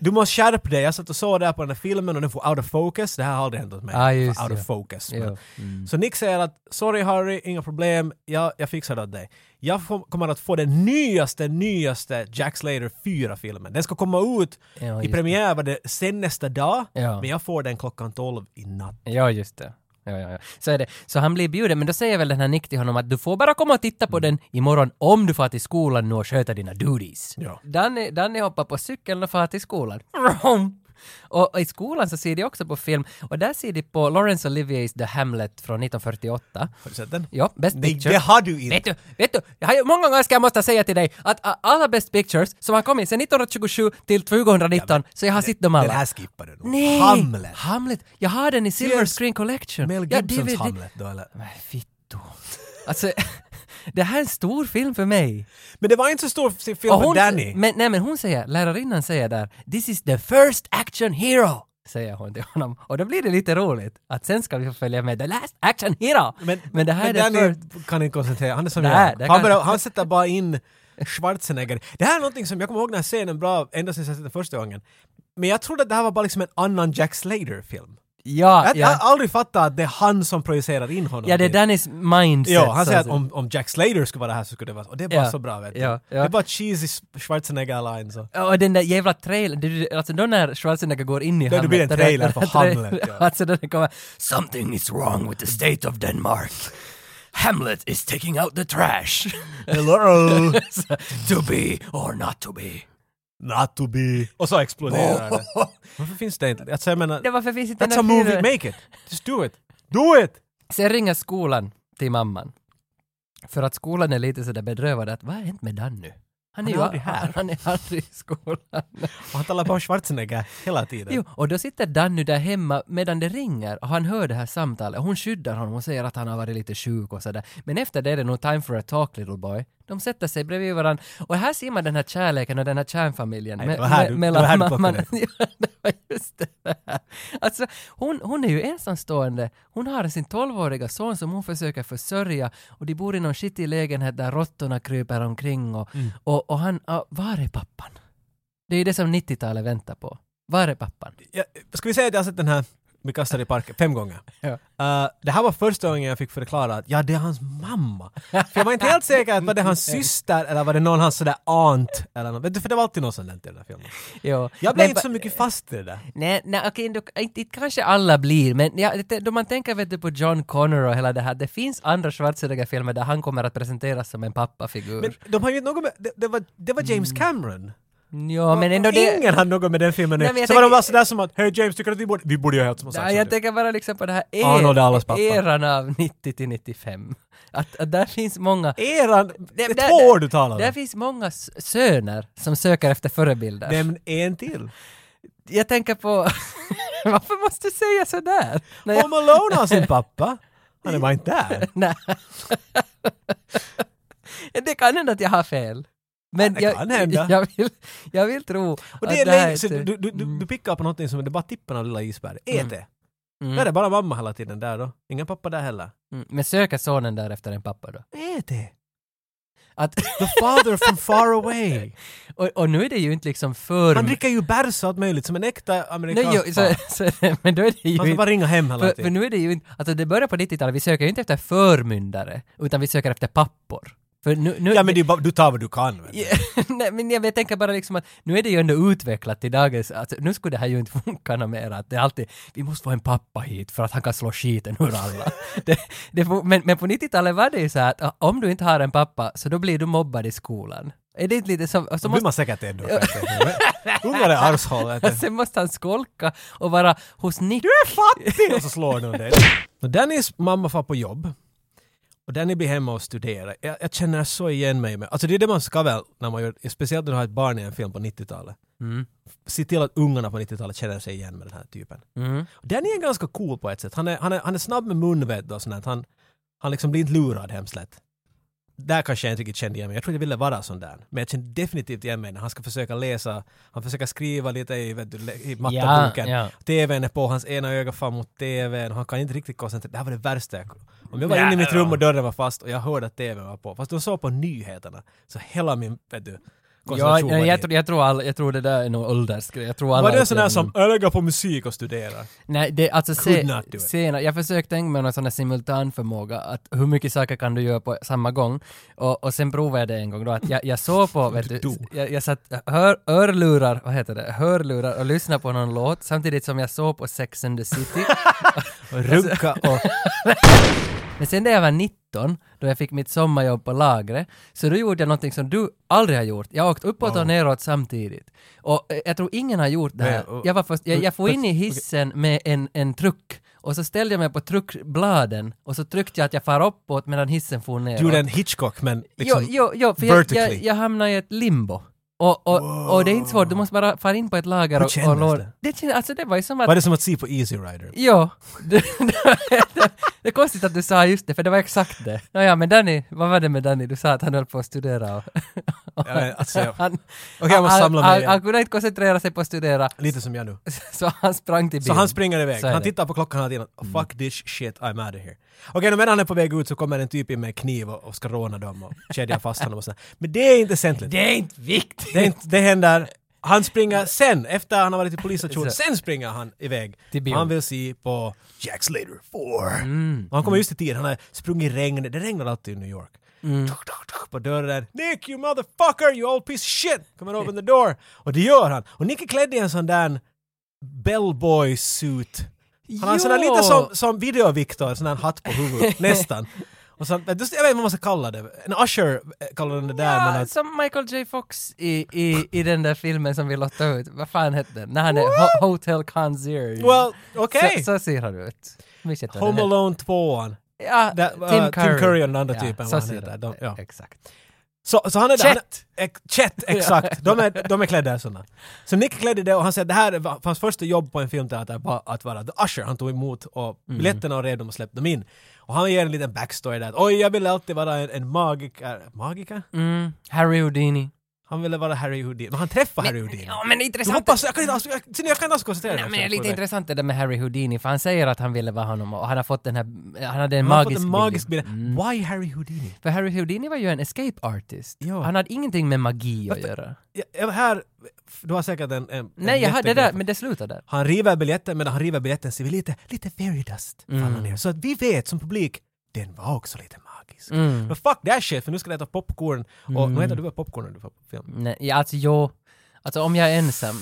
du måste skärpa dig. Jag satt och såg där på den här filmen och den får out of focus. Det här har aldrig hänt åt mig. Ah, just out det. Mm. of focus. Ja. Så Nick säger att sorry Harry, inga problem, jag, jag fixar det åt dig. Jag får, kommer att få den nyaste, nyaste Jack Slater 4-filmen. Den ska komma ut Ja, just i det. premiär var det sen nästa dag, Ja. men jag får den klockan 12 i natt. Ja, just det. Ja, ja, ja. Så är det. Så han blir bjuden, men då säger väl den här Nick till honom att du får bara komma och titta på Mm. den imorgon om du far till skolan nu och sköter dina duties. Ja. Danny, Danny hoppar på cykeln och far till skolan. Vroom! Och och i skolan så ser de också på film, och där ser de på Laurence Oliviers The Hamlet från 1948. Har du sett den? Ja, Best Nej, Picture. det har du inte! Vet du, vet du, jag har ju många gånger ska jag måste säga till dig att ä, alla Best Pictures som har kommit sedan 1927 till 2019, så jag har sett dem alla. Den här skippar du nog. Nej! Hamlet. Hamlet! Jag har den i Silver Yes. Screen Collection. Mel Ja, Gibsons DVD. Hamlet då eller? Men fitto. Alltså, *laughs* det här är en stor film för mig. Men det var inte så stor f- film Och för hon, Danny. Men, nej men hon säger, lärarinnan säger där, this is the first action hero, säger hon till honom. Och då blir det lite roligt att sen ska vi få följa med the last action hero. Men, det här är men det Danny first. kan inte koncentrera, han är som Nej, jag. det Han, kan- börjar, han sätter bara in Schwarzenegger. Det här är någonting som jag kommer ihåg den här scenen bra ända sedan jag sett den första gången. Men jag trodde att det här var bara liksom en annan Jack Slater-film. Ja, Jag, jag ja. har aldrig fattat att det är han som projicerar in honom. ja, det är dit. Dannys mindset. Ja, han så säger att att om, om Jack Slater skulle vara det här så skulle det vara Och det är bara alltså. Ja, så bra vet du. ja, ja. Det är bara cheesy Schwarzenegger-lines. och- Ja, Och den där jävla trailern, du- du- alltså då när Schwarzenegger går in i Då det *laughs* blir en då det- trailer då det- för Hamlet, ja. *laughs* Alltså då det kommer “Something is wrong with the state of Denmark. Hamlet is taking out the trash. *laughs* Hello! *laughs* Så, to be or not to be.” Not to be. Och så exploderar det. Varför finns det inte? Alltså jag menar, Det varför finns inte that's a movie, make it! Just do it! Do it! Sen ringer skolan till mamman. För att skolan är lite sådär bedrövad att vad har hänt med Dan nu? Han är, är ju *laughs* aldrig här. Han är aldrig i skolan. Och han talar bara om Schwarzenegger hela tiden. Jo, och då sitter Danny där hemma medan det ringer och han hör det här samtalet. Hon skyddar honom och säger att han har varit lite sjuk och sådär. Men efter det är det nog time for a talk little boy. De sätter sig bredvid varandra och här ser man den här kärleken och den här kärnfamiljen. Nej, det var här du- det var här du plockade mamman- *laughs* Ja, det var just det här. Alltså, hon, hon är ju ensamstående. Hon har sin 12-åriga son som hon försöker försörja och de bor i någon skitig lägenhet där råttorna kryper omkring och, Mm. och, och han, ja, var är pappan? Det är ju det som 90-talet väntar på. Var är pappan? Ja, ska vi säga att jag har sett den här Vi kastar i parken fem gånger? Ja. Eh, det här var första gången jag fick förklara att ja, det är hans mamma. För jag var inte helt säker att var det hans syster eller var det någon hans sådär aunt eller något. Vet du, för det var alltid något sånt där i den där filmen. Ja. Jag blev Men inte ba- så mycket fast i det där. Nej, nej okej, då, inte, inte kanske alla blir, men ja, det, då man tänker vet du, på John Connor och hela det här, det finns andra Schwarzenegger-filmer där han kommer att presenteras som en pappafigur. Men de har ju något med, det, det, var, det var James Cameron. ja, men ändå det... Ingen hade något med den filmen Nej, nej, men jag Så var de tänker- bara sådär som att Hej James, tycker du att vi borde... Vi borde ju ha gjort som sagt Ja, som jag du. tänker bara liksom på det här Arnold är allas pappa. eran av 90 till 95. Att, att där finns många... Eran... Det där- är två år du talar Där om. finns många s- söner som söker efter förebilder. Nämn en till. Jag tänker på... *laughs* Varför måste du säga sådär? När jag- Home Alone har sin pappa. Han är bara inte där. *laughs* Nej. *laughs* det kan hända att jag har fel. Men det jag, kan hända. *laughs* Jag vill, jag vill tro Och att det är här länge, är så ett- du, du, du, du pickar på någonting som är bara tippen av lilla isberget. Ät det. Mm. Där är bara mamma hela tiden där då. Ingen pappa där heller. Mm. Men söker sonen där efter en pappa då? Ät det. Att, *laughs* The father from far away. och, och nu är det ju inte liksom för... Han dricker ju bärs och allt möjligt som en äkta Nej, amerikansk jo, så, pappa. så, *laughs* men då är det ju Han ska bara inte... ringa hem hela För, för tiden. nu är det ju inte... Alltså det börjar på 90-talet, vi söker ju inte efter förmyndare, utan vi söker efter pappor. För nu, nu, Ja men *laughs* det är bara, du tar vad du kan. vet du. Nej, men jag, jag tänker bara liksom att nu är det ju ändå utvecklat till dagens, alltså, nu skulle det här ju inte *laughs* funka något mer, att det är alltid, vi måste få en pappa hit för att han kan slå skiten ur alla. *laughs* det, det, får- men, men på 90-talet var det ju så här att ah, om du inte har en pappa så då blir du mobbad i skolan. Är det inte lite som, och Då så blir måste, man säkert ändå. Ungar är arshål. vet *laughs* du. sen måste han skolka och vara hos Nick. Du är Och så slår någon dig. Och Dannys mamma far på jobb. Och Danny blir hemma och studerar. Jag, jag känner så igen mig med. Alltså det är det man ska väl när man gör, speciellt när du har ett barn i en film på 90-talet. Mm. Se till att ungarna på 90-talet känner sig igen med den här typen. Mm. Och Danny är ganska cool på ett sätt. Han är, han är, han är snabb med mun vet du, och sånt. där. Han, han liksom blir inte lurad hemskt lätt. Där kanske jag inte riktigt kände igen mig. Jag trodde jag ville vara sån där. Men jag kände definitivt igen mig när han ska försöka läsa. Han försöker skriva lite i, vet du, i matteboken. Ja, ja. TVn är på, hans ena öga fram mot TVn. Han kan inte riktigt koncentrera Det här var det värsta jag Om jag var inne i mitt rum och dörren var fast och jag hörde att TVn var på. Fast de såg på nyheterna. Så hela min, vet du, Ja, koncentration jag, var jag, dit. tror- jag, tror alla, jag tror det där är nog åldersgrej. Jag tror alla Var det en sån där upplever- som jag lägger på musik och studerar? Nej, det, alltså Could se, not do it. senare, jag försökte tänka mig någon sån där simultanförmåga, att hur mycket saker kan du göra på samma gång? Och, och sen provade jag det en gång då, att jag, jag såg på, vet du, dog. jag, jag satt hör, örlurar, vad heter det, hörlurar och lyssnade på någon låt samtidigt som jag såg på Sex and the City. *laughs* Alltså- Och runka och... *laughs* Men sen när jag var 19, då jag fick mitt sommarjobb på lagret, så då gjorde jag någonting som du aldrig har gjort. Jag har åkt uppåt och neråt samtidigt. Och eh, jag tror ingen har gjort det Nej, här. och- jag, var först, jag, jag får fast- in i hissen med en, en truck och så ställde jag mig på truckbladen och så tryckte jag att jag far uppåt medan hissen for neråt. Du gjorde en Hitchcock men liksom... jo, jo, jo, för jag, jag, vertically. jag hamnade i ett limbo. Och, och, och det är inte svårt, du måste bara fara in på ett lager Hur och, och kändes låda. det? Det kändes, alltså det var ju som att Var det som att se på Easy Rider? Ja, *laughs* det, det, det är konstigt att du sa just det, för det var exakt det. Nåja, men Danny, vad var det med Danny? Du sa att han höll på att studera och... och Ja, alltså, jag- *laughs* han, Okej, jag måste han, samla mig han, igen. han kunde inte koncentrera sig på att studera, Lite som jag nu. så han sprang till bilen. Så han springer iväg. Så är Han det. Mm. tittar på klockan hela tiden. Fuck this shit, I'm out of here. Okej, okay, medan han är på väg ut så kommer en typ in med en kniv och, och ska råna dem och *laughs* kedjar fast honom och sådär. Men det är inte väsentligt. Det är inte viktigt! Det, är inte, det händer. Han springer sen, efter han har varit i polisstationen, Så. sen springer han iväg. Till bio. Han vill se på Jack Slater 4. Mm. Och han kommer just i tid, han har sprungit i regnet. Det regnar alltid i New York. Mm. Tuk, tuk, tuk, på dörren. Nick you motherfucker you old piece of shit! Kommer open the door. Och det gör han. Och Nick är klädd i en sån där bellboy suit. Han har en sån där Jo. lite som, som video-Viktor, en sån där hatt på huvudet, *laughs* nästan. Och så, jag vet inte vad man ska kalla det. En usher eh, kallar den det där. men Ja, att- som Michael J Fox i, i, i den där filmen som vi lottade ut, vad fan hette den? När han är ho- Hotel Concierge. Well, okej. Så, så ser han ut. Mycket vad den Home heter. Alone 2. Ja, That, uh, Tim Curry och den andra typen, så vad han ser heter. det. De- ja. Exakt. Så, så han är där. Chet! Ex- *laughs* Chet, exakt. De är, de är klädda sådana. Så Nick klädde det och han säger att det här var hans första jobb på en filmteater var att vara The Usher. Han tog emot och Mm. biljetterna och rev dem och släppte dem in. Och han ger en liten backstory där. Oj, jag ville alltid vara en, en magiker. Magiker? Mm, Harry Houdini. Han ville vara Harry Houdini. Men han träffade Harry Houdini. Ja, men Du det är intressant. hoppas, jag kan inte alls, jag, Sini, jag kan inte alls koncentrera mig. Nej, men det är lite på det. intressant det där med Harry Houdini, för han säger att han ville vara honom och han har fått den här, han hade en Han har fått magisk, en magisk bild. Mm. Why Harry Houdini? För Harry Houdini var ju en escape artist. Ja. Han hade ingenting med magi att Varför- göra. Ja, Ja, här, du har säkert en... en Nej, en jag hade det jättegrej. där, men det slutade där. Han river biljetten, men när han river biljetten ser vi lite, lite fairy dust Mm. falla ner. Så att vi vet som publik, den var också lite magisk. Mm. Men fuck that shit, för nu ska jag äta popcorn. Och nu äter du väl popcorn när du får på film? Nej, ja, alltså jo. Alltså om jag är ensam.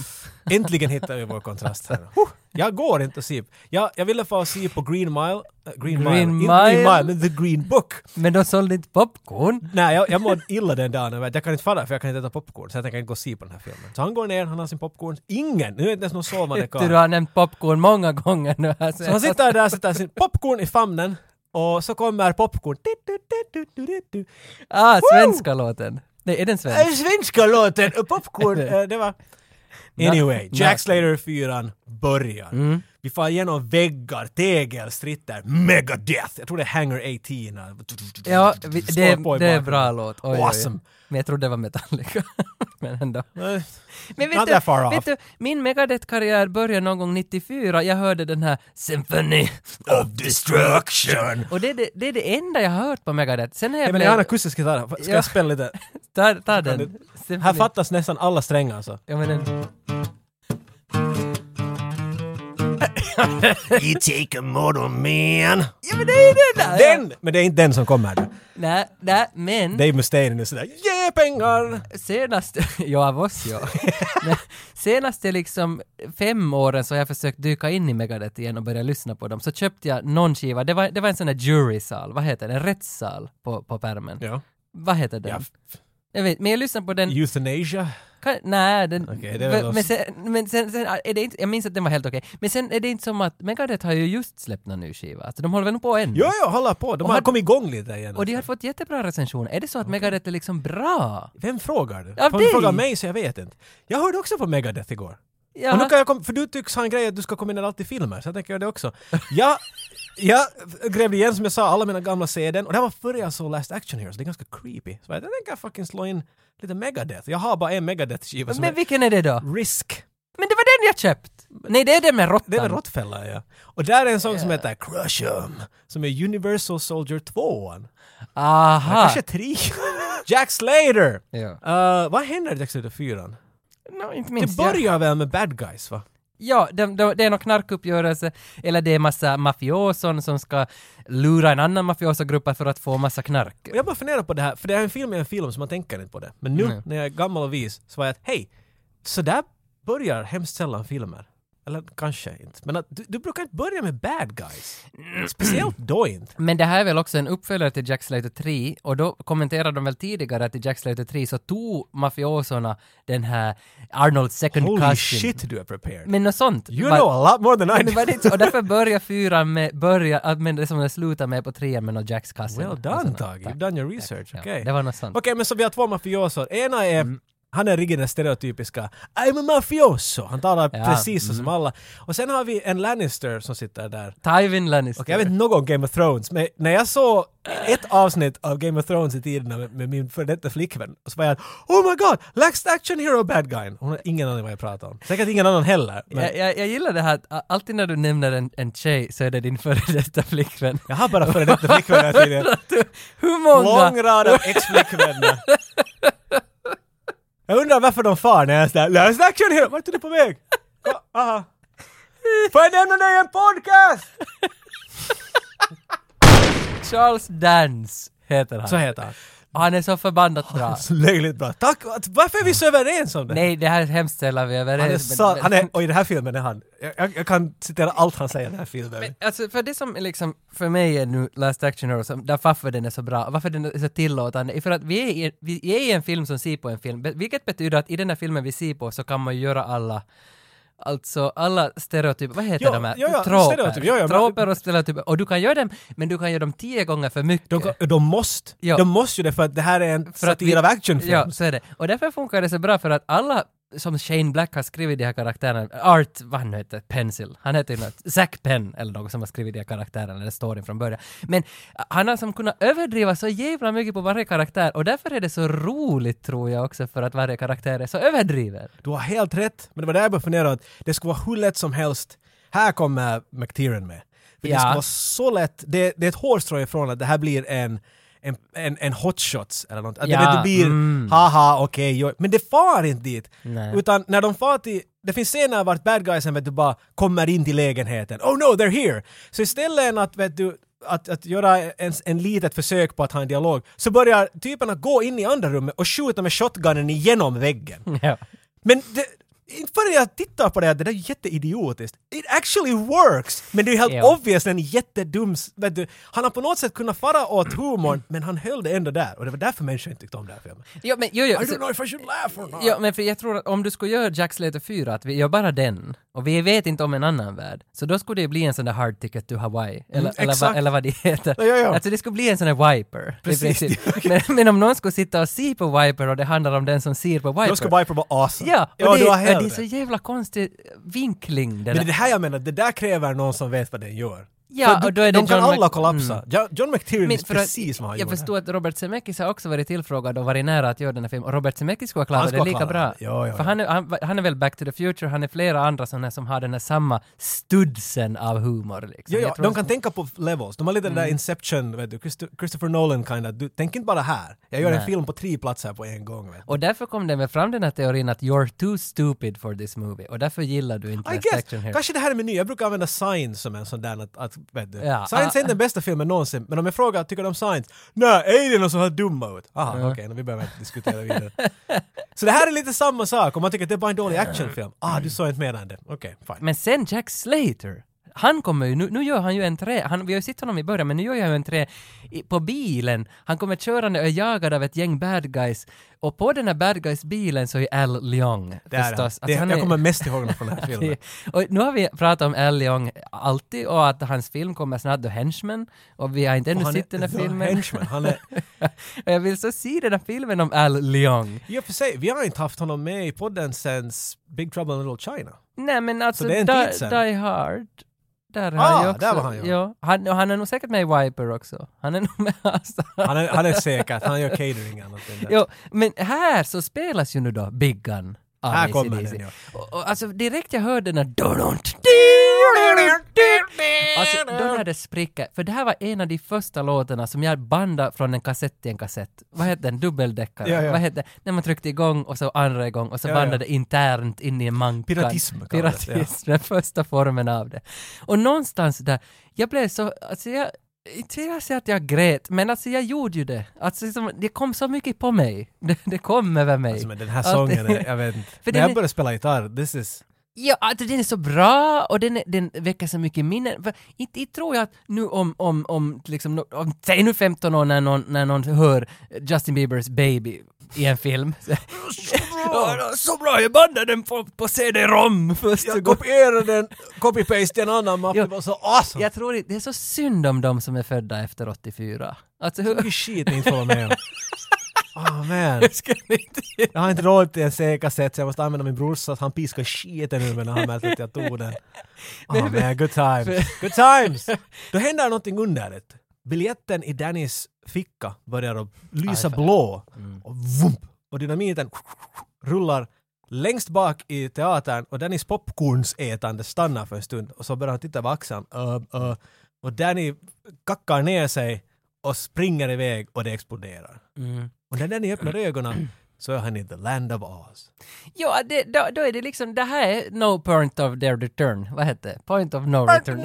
Äntligen hittar vi vår kontrast här. Huh, jag går inte och ser. Jag, jag ville få se på Green Mile, äh, Green, Mile, Green inte Green Mile. Mile, men The Green Book. Men de sålde inte popcorn. Nej, jag, jag mådde illa den dagen. Jag vet, Jag kan inte fara för jag kan inte äta popcorn. Så jag tänker inte gå och se på den här filmen. Så han går ner, han har sin popcorn. Ingen! Nu är det inte ens någon sovande *laughs* Du karl. har nämnt popcorn många gånger nu. Alltså. Så han sitter där, sätter sin popcorn i famnen och så kommer popcorn. Du, du, du, du, du, du. Ah, svenska låten. Nej, är den svensk? Äh, Svenska låten, äh, *laughs* popcorn, äh, det var... Anyway, na- Jack Slater 4 börjar. Mm. Vi far igenom väggar, tegelstritter, megadeath. Jag tror det är Hangar 18. äh, Ja, vi, slår det, på i det är bakgrunden. bra låt. Oj, oj, oj. Awesome. Men jag trodde det var Metallica. *laughs* Men ändå. Äh, Men Not that far off. vet du, min Megadeth-karriär började någon gång 94. Jag hörde den här Symphony Of destruction! och det är det, det, är det enda jag har hört på Megadeth. Sen har jag Ja, men jag har en akustisk gitarr. Ska Ja. jag spela lite? ta, ta den. Här Symphony. fattas nästan alla strängar alltså. Ja, men den. *laughs* You take a model man. Ja, men det är den där! Den! Men det är inte den som kommer. där. Nej, nej, men Dave Mustaine är nu sådär yeah, pengar! senaste... *laughs* ja, av oss ja. *laughs* Men senaste liksom fem åren så har jag försökt dyka in i Megadeth igen och börja lyssna på dem. Så köpte jag någon skiva, det var, det var en sån där jurysal, vad heter det? En rättssal på, på pärmen. Ja. Vad heter den? Ja. Jag vet, men jag lyssnade på den Euthanasia? Kan, nej, den, Okej, det är väl men- oss. men, sen, men sen, sen är det inte, jag minns att den var helt okej. Men sen är det inte som att Megadeth har ju just släppt någon ny skiva, alltså de håller väl nog på ännu? Jo, jo, hålla på. De Och har han- kommit igång lite igen. Och de har fått jättebra recensioner. Är det så att Megadeth är liksom bra? Vem frågar du? Av Om du dig. frågar mig så jag vet inte. Jag hörde också på Megadeth igår. Ja. Och nu kan jag kom, för du tycks ha en grej att du ska kombinera allt i filmer, så jag tänker göra det också. *laughs* Jag, jag grävde igen som jag sa alla mina gamla CDn och det här var före jag såg Last Action Heroes, det är ganska creepy. Så jag tänker fucking slå in lite Megadeth. Jag har bara en Megadeth-skiva som men vilken är det då? är Risk. Men det var den jag köpt! Nej, det är den med råttan. Det är väl Råttfällan ja. Och där är en sång som heter Crush 'em, som är Universal Soldier 2 Aha! Kanske 3 *laughs* Jack Slater! Ah. Ja. Eh, vad händer i Jack Slater 4? No, inte Det minst. ja, börjar väl med bad guys va? ja det, det, det är någon knarkuppgörelse, eller det är massa mafioson som ska lura en annan mafiosogrupp för att få massa knark. Och jag bara funderar på det här, för det här är en film är en film så man tänker inte på det. Men nu när jag är gammal och vis så var jag att hej, så där börjar hemskt sällan filmer. Eller kanske inte. Men att, du, du brukar inte börja med bad guys. Speciellt då *clears throat* inte. Men det här är väl också en uppföljare till Jack Slater 3 och då kommenterade de väl tidigare att i Jack Slater 3 så tog mafiosorna den här Arnold second Holy cousin. shit du är prepared. Men något sånt. you Var- know a lot more than I Men do. var *laughs* det inte- och därför börjar fyran med, börja, att- men det som det slutar med på trean med någon Jacks *laughs* cousin. Well Och done sådana. Tage, Alltså, Tack. you've done your research. Ja, Okej. Det var något sånt. Mm. Okej, men så vi har två mafioser. Ena är, han är riktigt den stereotypiska I'm a mafioso. Han talar Ja, mm. precis så som alla. Och sen har vi en Lannister som sitter där. Tywin Lannister. Okej, jag vet något om Game of Thrones, men när jag såg ett avsnitt av Game of Thrones i tiderna med, med min före detta flickvän, så var jag Oh my god! Last action hero bad guy! Hon har ingen aning vad jag pratar om. Säkert ingen annan heller. Men jag, jag, jag gillar det här att a- alltid när du nämner en, en tjej så är det din *laughs* före detta flickvän. jag har bara före detta flickvänner *laughs* tidigare. Hur många? Lång rad av ex-flickvänner. Jag undrar varför de far när jag är sådär “Last action hero! Vart är du på väg?” Ja, aha. Får jag nämna dig i en podcast? Charles Dance heter han. Så heter han. Och han är så förbannat bra. Så löjligt bra. Tack! Varför är vi så överens om det? Nej, det här är hemskt sällan vi är överens. Han är, så, men- men- han är, och i den här filmen är han, jag- jag, jag kan citera allt han säger i den här filmen. Men alltså för det som är liksom, för mig är nu Last Action Hero, som, där varför den är så bra, varför den är så tillåtande, är för att vi är, i, vi är i en film som ser på en film, be- vilket betyder att i den här filmen vi ser på så kan man ju göra alla Alltså alla stereotyper, vad heter Ja, de här? ja, ja, Troper. stereotyper, ja, ja, men- Troper och stereotyper. Och du kan göra dem, men du kan göra dem tio gånger för mycket. De, de måste. Ja. De måste ju det för att det här är en För att vi- satir av actionfilm. Ja, så är det. Och därför funkar det så bra för att alla som Shane Black har skrivit de här karaktärerna, Art, vad han nu heter, Pencil, han heter ju något, Zack Penn eller någon som har skrivit de här karaktärerna eller storyn från början. Men han har som kunnat överdriva så jävla mycket på varje karaktär och därför är det så roligt tror jag också för att varje karaktär är så överdriven. Du har helt rätt, men det var där jag började fundera att det skulle vara hur lätt som helst. Här kommer McTiernan med. För Ja. Det ska vara så lätt. Det, det är ett hårstrå ifrån att det här blir en en, en, en hotshots eller något. Att Ja, det, vet, det blir mm. haha okej, jo. men det far inte dit. Nej. Utan när de far till, det finns scener vart bad guysen vet du bara kommer in till lägenheten. Oh no, they're here! Så istället än att vet du att, att göra en, en litet försök på att ha en dialog så börjar typerna gå in i andra rummet och skjuta med shotgunen igenom väggen. Ja. Men det, inte förrän jag tittar på det här, det där är jätteidiotiskt. It actually works! Men det är ju helt Ja. obvious en jättedum... s- Vet du, han har på något sätt kunnat fara åt humorn, men han höll det ändå där. Och det var därför människor inte tyckte om den här filmen. Jo, men, jo, jo, I så- don't know if I should laugh or not! Ja, men för jag tror att om du skulle göra Jack Slater 4, att vi gör bara den, och vi vet inte om en annan värld, så då skulle det bli en sån där hard ticket to Hawaii, eller, eller, vad, Mm, exakt. eller vad det heter. Ja, ja, ja. Alltså det skulle bli en sån där Wiper. i Precis, *laughs* princip. men, men om någon skulle sitta och se på Wiper och det handlar om den som ser på Wiper. Då ska Viper vara awesome. Ja, och det, du har ja, helt det är rätt. så jävla konstig vinkling. Men Det det där. är det här jag menar, det där kräver någon som vet vad den gör. Ja, För du- och då är det de kan John alla Mc- kollapsa. Mm. Jo- John McTiernan Men är för att- precis vad han Jag gjorde. förstår att Robert Zemeckis har också varit tillfrågad och varit nära att göra den här filmen. Och Robert Zemeckis skulle ha Han klarat det skulle ha lika bra. klarat det. Ja, ja, för ja. Han, är, han, han är väl Back to the Future, han är flera andra sådana som har den här samma studsen av humor. Liksom. Jo, Jag jo, tror de att- kan tänka på levels. De har lite Mm. den där Inception, vet du, Christo- Christopher Nolan kind of. Du, tänk inte bara här. Jag gör Nej. en film på tre platser på en gång. Vet du. Och därför kom det med fram den här teorin att you're too stupid for this movie. Och därför gillar du inte I Last guess. Action Hero. Kanske det här är meny. Jag brukar använda Science som en sån där att, att vet du. Ja, Science ah. är inte den bästa filmen någonsin, men om jag frågar tycker du om Science? Nej, Alien och så här dumma ut. Aha, okej, okay, vi behöver inte diskutera vidare. så det här är lite samma sak, om man tycker att det är bara en dålig actionfilm. Ah, Mm. du såg inte mer än det. Okej, fine. Men sen Jack Slater, han kommer ju, nu, nu gör han ju en trä, han, vi har ju sett honom i början, men nu gör han ju en trä i, på bilen. Han kommer körande och är jagad av ett gäng bad guys. Och på den här bad guys-bilen så är Al Leong Där är han. förstås. Alltså, det, han jag är- kommer mest ihåg honom från *laughs* den här filmen. och nu har vi pratat om Al Leong alltid och att hans film kommer snart, The Henchman, och vi har inte Och ännu han sett den här är the filmen. henchman. Han är, *laughs* och jag vill så se den här filmen om Al Leong. I och för sig, vi har inte haft honom med i podden sen Big Trouble in Little China. Nej men alltså det är en tid die, sedan. die Hard. Där har Ah, jag också. där var han ju. ja. han, och han är nog säkert med i Wiper också. Han är *laughs* nog med alltså. Han är, han är säkert, han gör catering och annat. än det. Jo, men här så spelas ju nu då Big Gun. av Här AC/DC. kommer den, ja. och, och, alltså direkt jag hörde den här Alltså, då lär det spricka. För det här var en av de första låtarna som jag bandade från en kassett till en kassett. Vad hette den? Dubbeldäckare? Ja, ja. Vad hette När man tryckte igång och så andra igång och så Ja, ja. bandade det internt in i en mankan. Piratism kallas det, ja. Piratism, *laughs* den första formen av det. Och någonstans där, jag blev så, alltså jag, inte vill jag säga att jag grät, men alltså jag gjorde ju det. Alltså liksom, det kom så mycket på mig. *laughs* Det, det kom över mig. Alltså, men den här Att- *laughs* sången, är, jag vet inte. För När den jag är- började spela gitarr, this is... Ja, alltså den är så bra och den, är, den väcker så mycket minnen. För Inte inte tror jag att nu om, om, om, liksom, no- om säg nu 15 år när någon, när någon hör Justin Biebers Baby i en film. Så, *laughs* Ja, så bra, jag bandade den på, på CD-ROM första Jag gången. kopierade den, copy-paste en annan mapp, Jo. det var så awesome! Jag tror det, det är så synd om de som är födda efter 84. Alltså hur Mycket shit ni inte får vara med om. Ah man. *laughs* ska ni inte... *laughs* Jag har inte råd till en säker sätt så jag måste använda min brorsa att han piskar skiten ur mig när han märkte att jag tog den. Ah man, good times. Good times! Då händer någonting underligt. Biljetten i Dannys ficka börjar att lysa blå. Och vump! Och dynamiten rullar längst bak i teatern och Dannys popcornsätande stannar för en stund och så börjar han titta på axeln. Uh, uh, och Danny kackar ner sig och springer iväg och det exploderar. Och när Danny *clears throat* öppnar ögonen så är han i the land of Oz. Ja, det, då, då är det liksom, det här är no point of *laughs* their return. Vad hette det? Point of no return.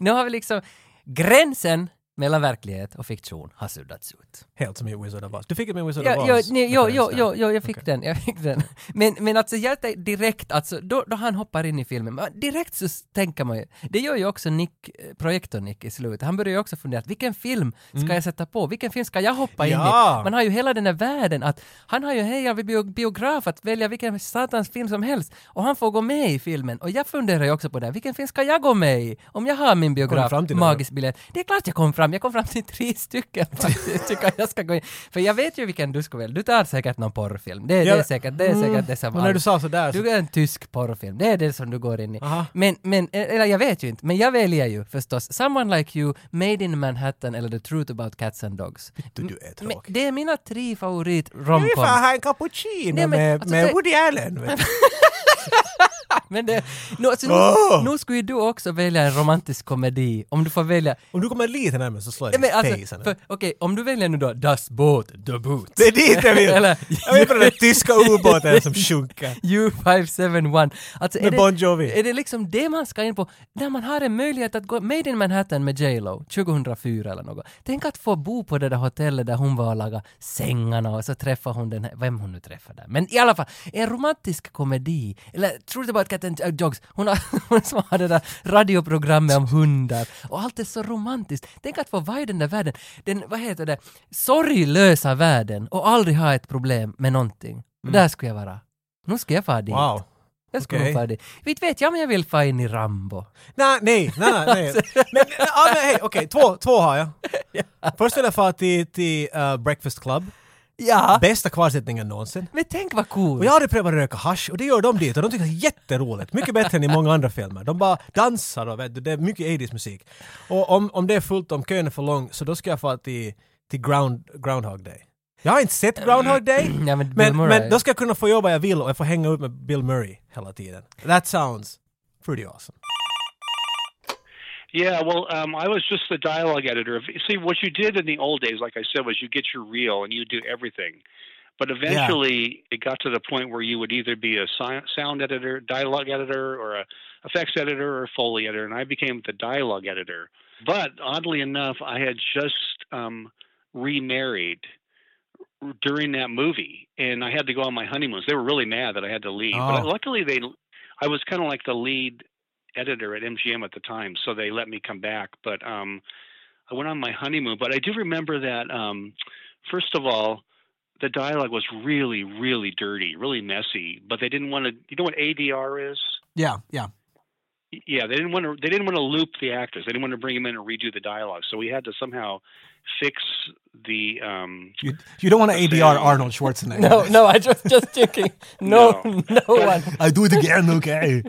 nu har vi liksom gränsen mellan verklighet och fiktion har suddats ut. Helt som i Wizard of Oz. Du fick alltså, det med Wizard Ja, of ja, Oz. nej, ja, ja, referens där. ja, ja, jag fick den, jag fick den. Men, men alltså jag tänkte direkt, alltså, då, då han hoppar in i filmen, men direkt så s- tänker man ju, det gör ju också Nick, eh, projektor-Nick i slutet, han börjar ju också fundera, att vilken film ska jag sätta på, vilken film ska jag hoppa in Mm. Ja. i? Man har ju hela den där världen att, han har ju en hel bio, biograf att välja vilken satans film som helst, och han får gå med i filmen, och jag funderar ju också på det, här, vilken film ska jag gå med i? Om jag har min biograf, fram till det? magisk biljett. Det är klart jag kom fram, jag kom fram till tre stycken *laughs* faktiskt, tycker jag ska gå in. För jag vet ju vilken du ska välja, du tar säkert någon porrfilm, det, Ja. Mm. det är säkert, det är säkert det som Och när du sa sådär så... Du är en tysk porrfilm, det är det som du går in i. Aha. Men, men, eh, eller jag vet ju inte, men jag väljer ju förstås Someone Like You, Made in Manhattan eller The Truth About Cats and Dogs. Du, du är Men tråkig. det är mina tre favorit Du vill fan romcoms. ha en cappuccino Nej, men, med, alltså, med det- Woody Allen. vet du. Men det, nu, alltså, Åh! nu, nu skulle ju du också välja en romantisk komedi, om du får välja. Om du kommer lite närmare så slår jag Nej, men dig i alltså, facen. för- Okej, om du väljer nu då Das Boot, The Boot. Det är dit jag vill! Eller- jag vill på den där *laughs* tyska ubåten som sjunker. U571. Alltså, är, Med Bon Jovi. Det, är det liksom det man ska in på? När man har en möjlighet att gå Made in Manhattan med J Lo 2004 eller något. Tänk att få bo på det där hotellet där hon var och lagade sängarna och så träffar hon den här, vem hon nu träffar där. Men i alla fall, en romantisk komedi. Eller Truth About Cat and Dogs. Hon har, *laughs* hon som har det där radioprogrammet om hundar. Och allt är så romantiskt. Tänk att få vara i den där världen. Den, vad heter det, sorglösa världen och aldrig ha ett problem med någonting. Där skulle jag vara. Nu ska jag fara dit. Wow. Jag skulle Okej. nog fara dit. Inte vet jag men jag vill fara in i Rambo. Nej, nej, nej, *laughs* nej. Alltså- Men, ja, men hej, okej, två, två har jag. Först vill jag fara till, till eh, Breakfast Club. Ja! Bästa kvarsittningen någonsin. Men tänk vad cool! Och jag hade prövat att röka hasch och det gör de dit och de tycker det är jätteroligt. Mycket bättre än i många andra filmer. De bara dansar och vet du, det är mycket 80s musik. Och om, om det är fullt, om kön är för lång, så då ska jag fara till, till ground, Groundhog Day. Jag har inte sett Groundhog Day, *clears throat* Ja, men Bill men, Murray. men då ska jag kunna få jobba jag vill och jag får hänga ut med Bill Murray hela tiden. That sounds pretty awesome. Yeah, well, um, I was just the dialogue editor. See, what you did in the old days, like I said, was you get your reel and you do everything. But eventually, it got to the point where you would either be a si- sound editor, dialogue editor, or a effects editor, or a foley editor, and I became the dialogue editor. But oddly enough, I had just um, remarried during that movie, and I had to go on my honeymoons. They were really mad that I had to leave, but Oh. luckily they, I was kind of like the lead editor at MGM at the time, so they let me come back. But um, I went on my honeymoon. But I do remember that um, first of all, the dialogue was really, really dirty, really messy. But they didn't want to. You know what ADR is? Yeah, yeah. Y- Yeah, they didn't want to. They didn't want to loop the actors. They didn't want to bring them in and redo the dialogue. So we had to somehow fix the. Um, You, you don't want to ADR Arnold Schwarzenegger. *laughs* No, no, I was just joking. No, No. no one. I do it again, okay?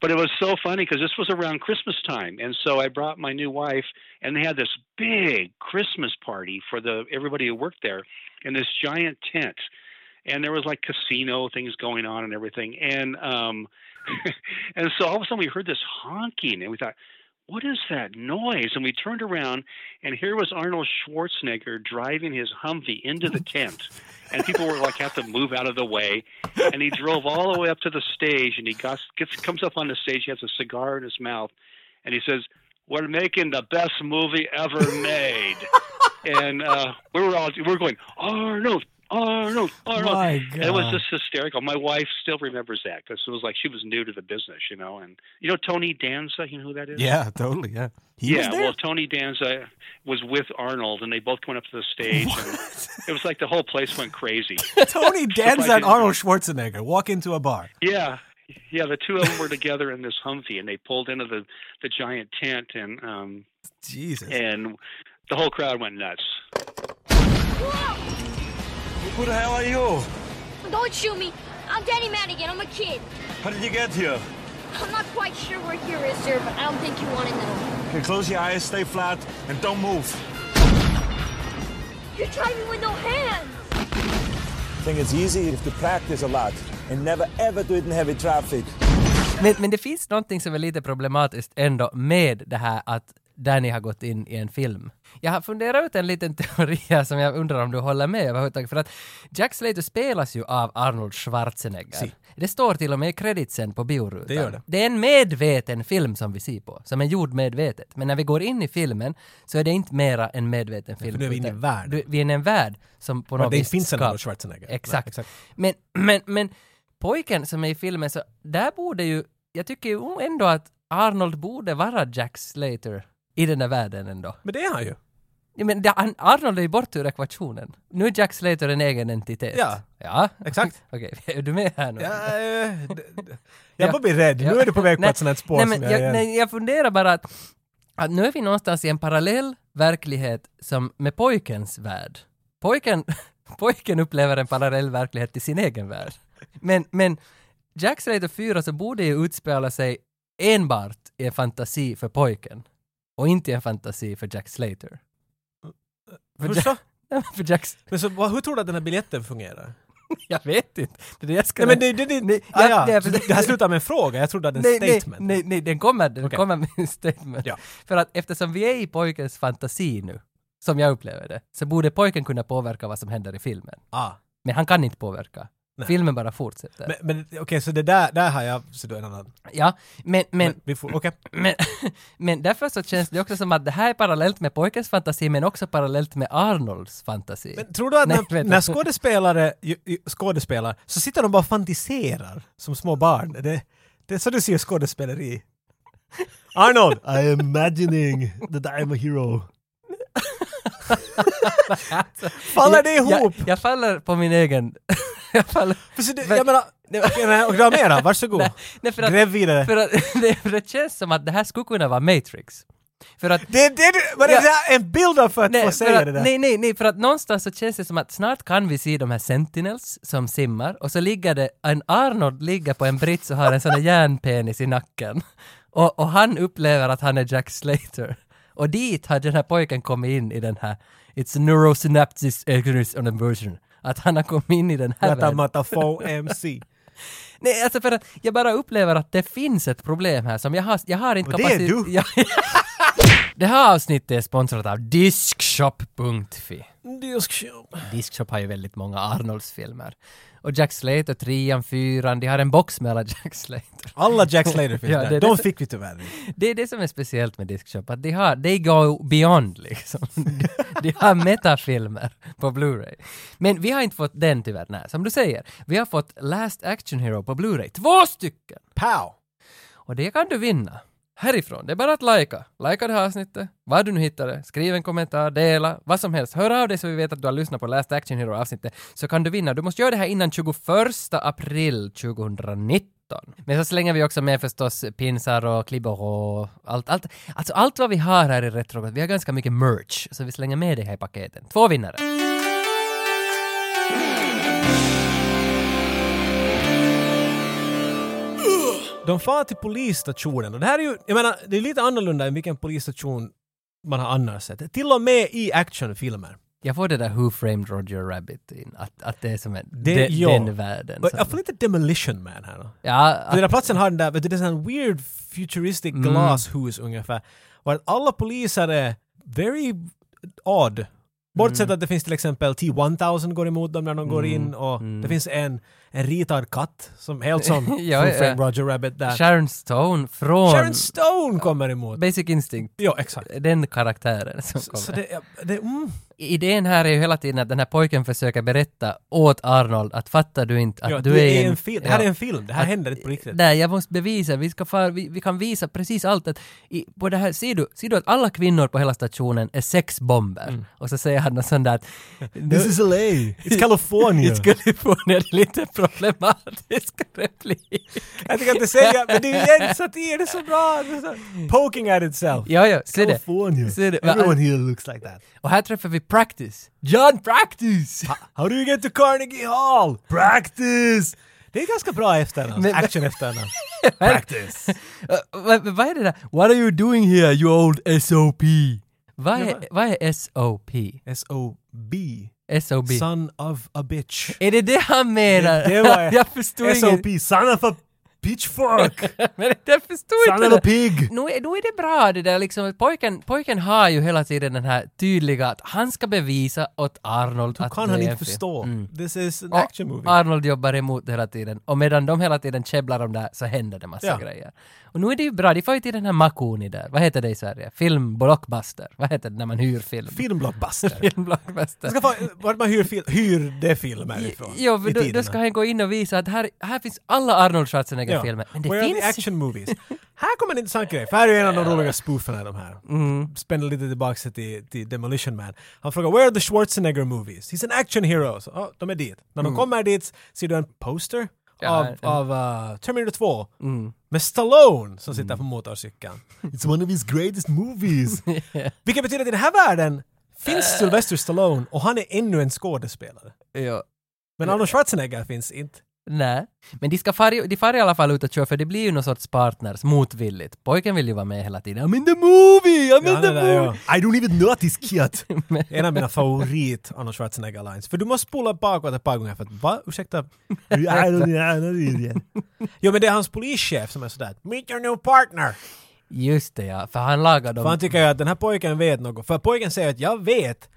but it was so funny because this was around Christmas time, and so I brought my new wife, and they had this big Christmas party for the everybody who worked there in this giant tent, and there was like casino things going on and everything, and um, *laughs* and so all of a sudden we heard this honking, and we thought. What is that noise? And we turned around, and here was Arnold Schwarzenegger driving his Humvee into the tent. And people were like, have to move out of the way and he drove all the way up to the stage and he got, gets comes up on the stage he has a cigar in his mouth and he says we're making the best movie ever *laughs* made and uh, we were all we were going arnold arnold arnold My and it was God. just hysterical my wife still remembers that because it was like she was new to the business you know and you know tony danza you know who that is Yeah, totally, yeah. He was yeah, there? well, Tony Danza was with Arnold, and they both went up to the stage. And it was like the whole place went *laughs* crazy. *laughs* Tony Danza and didn't- Arnold Schwarzenegger walk into a bar. Yeah, yeah. The two of them were together in this Humvee, and they pulled into the the giant tent, and um, Jesus. and the whole crowd went nuts. Who the hell are you? Don't shoot me. I'm Danny Madigan. I'm a kid. How did you get here? I'm not quite sure where here is, sir, but I don't think you want to know. Okay, close your eyes, stay flat, and don't move. You're driving with no hands. I think it's easy if you practice a lot and never ever do it in heavy traffic. Men, men det finns någonting som är lite problematiskt ändå med det här att där ni har gått in i en film. Jag har funderat ut en liten *laughs* teori här som jag undrar om du håller med överhuvudtaget, för att Jack Slater spelas ju av Arnold Schwarzenegger. Si. Det står till och med i kreditsen på biorutan. Det gör det. Det är en medveten film som vi ser på, som är gjord medvetet. Men när vi går in i filmen så är det inte mera en medveten film. för nu är vi inne i utan- värld. Du- Vi är inne i en värld som på något det vis finns en skap- Arnold Schwarzenegger. Exakt. Nej, exakt. Men, men, men pojken som är i filmen, så där borde ju, jag tycker ju ändå att Arnold borde vara Jack Slater i den där världen ändå. Men det är han ju. Ja, Men det- han- Arnold är ju bort ur ekvationen. Nu är Jack Slater en egen entitet. Ja. Ja. Exakt. *laughs* Okej, är du med här nu? *laughs* Ja, eh, d- d- Ja. jag bara blir rädd. Nu Ja. är du på väg på Nej, ett sånt här spår nej, som men jag, jag, nej, jag funderar bara att, att nu är vi någonstans i en parallell verklighet som med pojkens värld. Pojken, *laughs* pojken upplever en parallell verklighet till sin egen värld. Men, men Jack Slater 4 så borde ju utspela sig enbart i en fantasi för pojken och inte i en fantasi för Jack Slater. För Hur Jack, så? Nej, men för Jack, *laughs* Men så, vad- hur tror du att den här biljetten fungerar? jag vet inte. Det är det jag ska Nej men det, det, det, Nej, ah, jag- ja. nej, Så för- det här slutar med en fråga, jag trodde att det var en statement. Nej, nej, nej den kommer, den Okej. kommer med en statement. Ja. För att eftersom vi är i pojkens fantasi nu, som jag upplever det, så borde pojken kunna påverka vad som händer i filmen. Ah. Men han kan inte påverka. Nej. Filmen bara fortsätter. Men, men okej, så det där, där har jag, så du en annan. ja, men, men, Men, vi får, okej. men, *laughs* men därför så känns det också som att det här är parallellt med pojkens fantasi, men också parallellt med Arnolds fantasi. Men tror du att Nej, när, vänta. när skådespelare ju- ju- skådespelar så sitter de bara och fantiserar som små barn? Det, det är så du ser skådespeleri. Arnold! I am imagining that I am a hero. Faller det Jag- ihop? Jag, jag faller på min egen... *laughs* jag faller... För så det, Men- jag menar, okej, nej, och du har mera, varsågod. Nej, nej, för att- Gräv vidare. För att, *laughs* det, för det känns som att det här skulle kunna vara Matrix. För att Det, det, det, var det Ja. där en bild av för att få Nej, för säga det att, där? nej, nej, nej, för att någonstans så känns det som att snart kan vi se de här Sentinels som simmar och så ligger det, en Arnold ligger på en brits och har en sån här järnpenis i nacken. *laughs* Och, och han upplever att han är Jack Slater. Och dit har den här pojken kommit in i den här, it's neurosynapsis on inversion. Att han har kommit in i den här Mata världen. mata få MC. Nej, alltså för att jag bara upplever att det finns ett problem här som jag har, jag har inte Och det är kapacitet... du. *laughs* det här avsnittet är sponsrat av Diskshop.fi. Diskshop har ju väldigt många Arnolds-filmer. Och Jack Slater, trean, fyran, de har en box med alla Jack Slater. Alla Jack Slater finns Ja, det där, är de det- fick vi tyvärr inte. Det är det som är speciellt med Diskshop, att de har, they go beyond liksom. *laughs* De, de har metafilmer på Blu-ray. Men vi har inte fått den tyvärr, nej. Som du säger, vi har fått Last Action Hero på Blu-ray, två stycken! Pow! Och det kan du vinna. Härifrån, det är bara att lajka. Lajka det här avsnittet, vad du nu hittar det. Skriv en kommentar, dela, vad som helst. Hör av dig så vi vet att du har lyssnat på Last Action Hero-avsnittet, så kan du vinna. Du måste göra det här innan 21 april 2019. Men så slänger vi också med förstås pinsar och klibbor och allt, allt, alltså allt vad vi har här i Retrogott. Vi har ganska mycket merch, så vi slänger med det här i paketen. Två vinnare. De far till polisstationen och det här är ju, jag menar, det är lite annorlunda än vilken polisstation man har annars sett. Till och med i actionfilmer. Jag får det där Who Framed Roger Rabbit in, att, att det är som en, Det- de, ja. den världen. Och som- Jag får lite Demolition Man här då. ja, Den att, där platsen har den där, vet du, det är sån här weird futuristic Mm. glashus ungefär. Och att alla poliser är very odd. Bortsett Mm. att det finns till exempel T-1000 går emot dem när de går in och det finns en, en ritad katt som helt som Mm. *laughs* Ja, från ja. Frame Roger Rabbit där. Sharon Stone från Sharon Stone kommer emot! Basic Instinct. Ja, exakt. Den karaktären som Så- kommer. Så det, är- det, är- mm. Idén här är ju hela tiden att den här pojken försöker berätta åt Arnold att fattar du inte att ja, du, är en, film. Det här ja. är en film, det här Att- händer inte på riktigt. Nej, jag måste bevisa. Vi, ska far, vi, vi kan visa precis allt. Att i, på det här, ser, du, ser du att alla kvinnor på hela stationen är sexbomber? Mm. Och så säger han något sånt *laughs* där att... This *laughs* is LA, it's California. It's California, det är lite problematisk *laughs* replik. jag tycker att det säger, men det är ju igen satir, det är så bra! Det är så, poking at itself. Ja, ja, se det. California. Se det. Everyone here looks like that. Och här träffar vi Practice. John Practice! How do you get to Carnegie Hall? Practice! Det är ganska bra efternamn, Men- action efternamn. *laughs* Practice. Eh, Vad vad är det där? What are you doing here, you old SOP? Vad Ja, är, va? vad är SOP? S.O.B. SOB. Son of a bitch. Är det det han menar? *laughs* Det- det var- jag förstod inget. S.O.P. Son of a *laughs* pitchfork! Men jag förstod Son inte of a det. pig! Nu, är- nu är det bra det där liksom, att pojken, pojken har ju hela tiden den här tydliga att han ska bevisa åt Arnold att Kan det han är inte Mm. en film. förstå? This is an Och action movie. Arnold jobbar emot hela tiden och medan de hela tiden käbblar om det här så händer det massa Ja. grejer. Och nu är det ju bra, de får ju till den här Makuni där, vad heter det i Sverige? Film blockbuster, vad heter det när man hyr film? Filmblockbuster. film blockbuster. Man ska få, vart man hyr, fil, hyr det filmer ifrån. Jo, i men då, då tiderna. ska han gå in och visa att här, här finns alla Arnold Schwarzenegger-filmer. Men det Where are the finns... action movies? här kommer en intressant grej, för här är ju en av de roliga spooferna i de här. Mm. Spänner lite tillbaka till, till Demolition Man. Han frågar “Where are the Schwarzenegger movies?” “He's an action hero”. Så, oh, de är dit. När de kommer dit ser du en poster Mm. Ja, Mm. av, en- av uh, Terminator 2 med Stallone som Mm. sitter på *laughs* motorcykeln. “It's one of his greatest movies”. Vilket betyder att i den här världen finns Äh. Sylvester Stallone och han är ännu en skådespelare. Ja. Men Arnold Schwarzenegger finns inte. Nej, men de, ska far, i- de far i alla fall ut och kör för det blir ju någon sorts partners motvilligt. Pojken vill ju vara med hela tiden. I'm in the movie! I'm in Ja, the det där, movie! ja. I don't even notice *laughs* kid. en av mina favorit Arnold Schwarzenegger lines. För du måste spola bakåt ett par gånger för att va? *laughs* Ursäkta? I don't know. jo men det är hans polischef som är sådär “Meet your new partner”. Just det ja, för han lagar dem. För han tycker ju att den här pojken vet något. För pojken säger att jag vet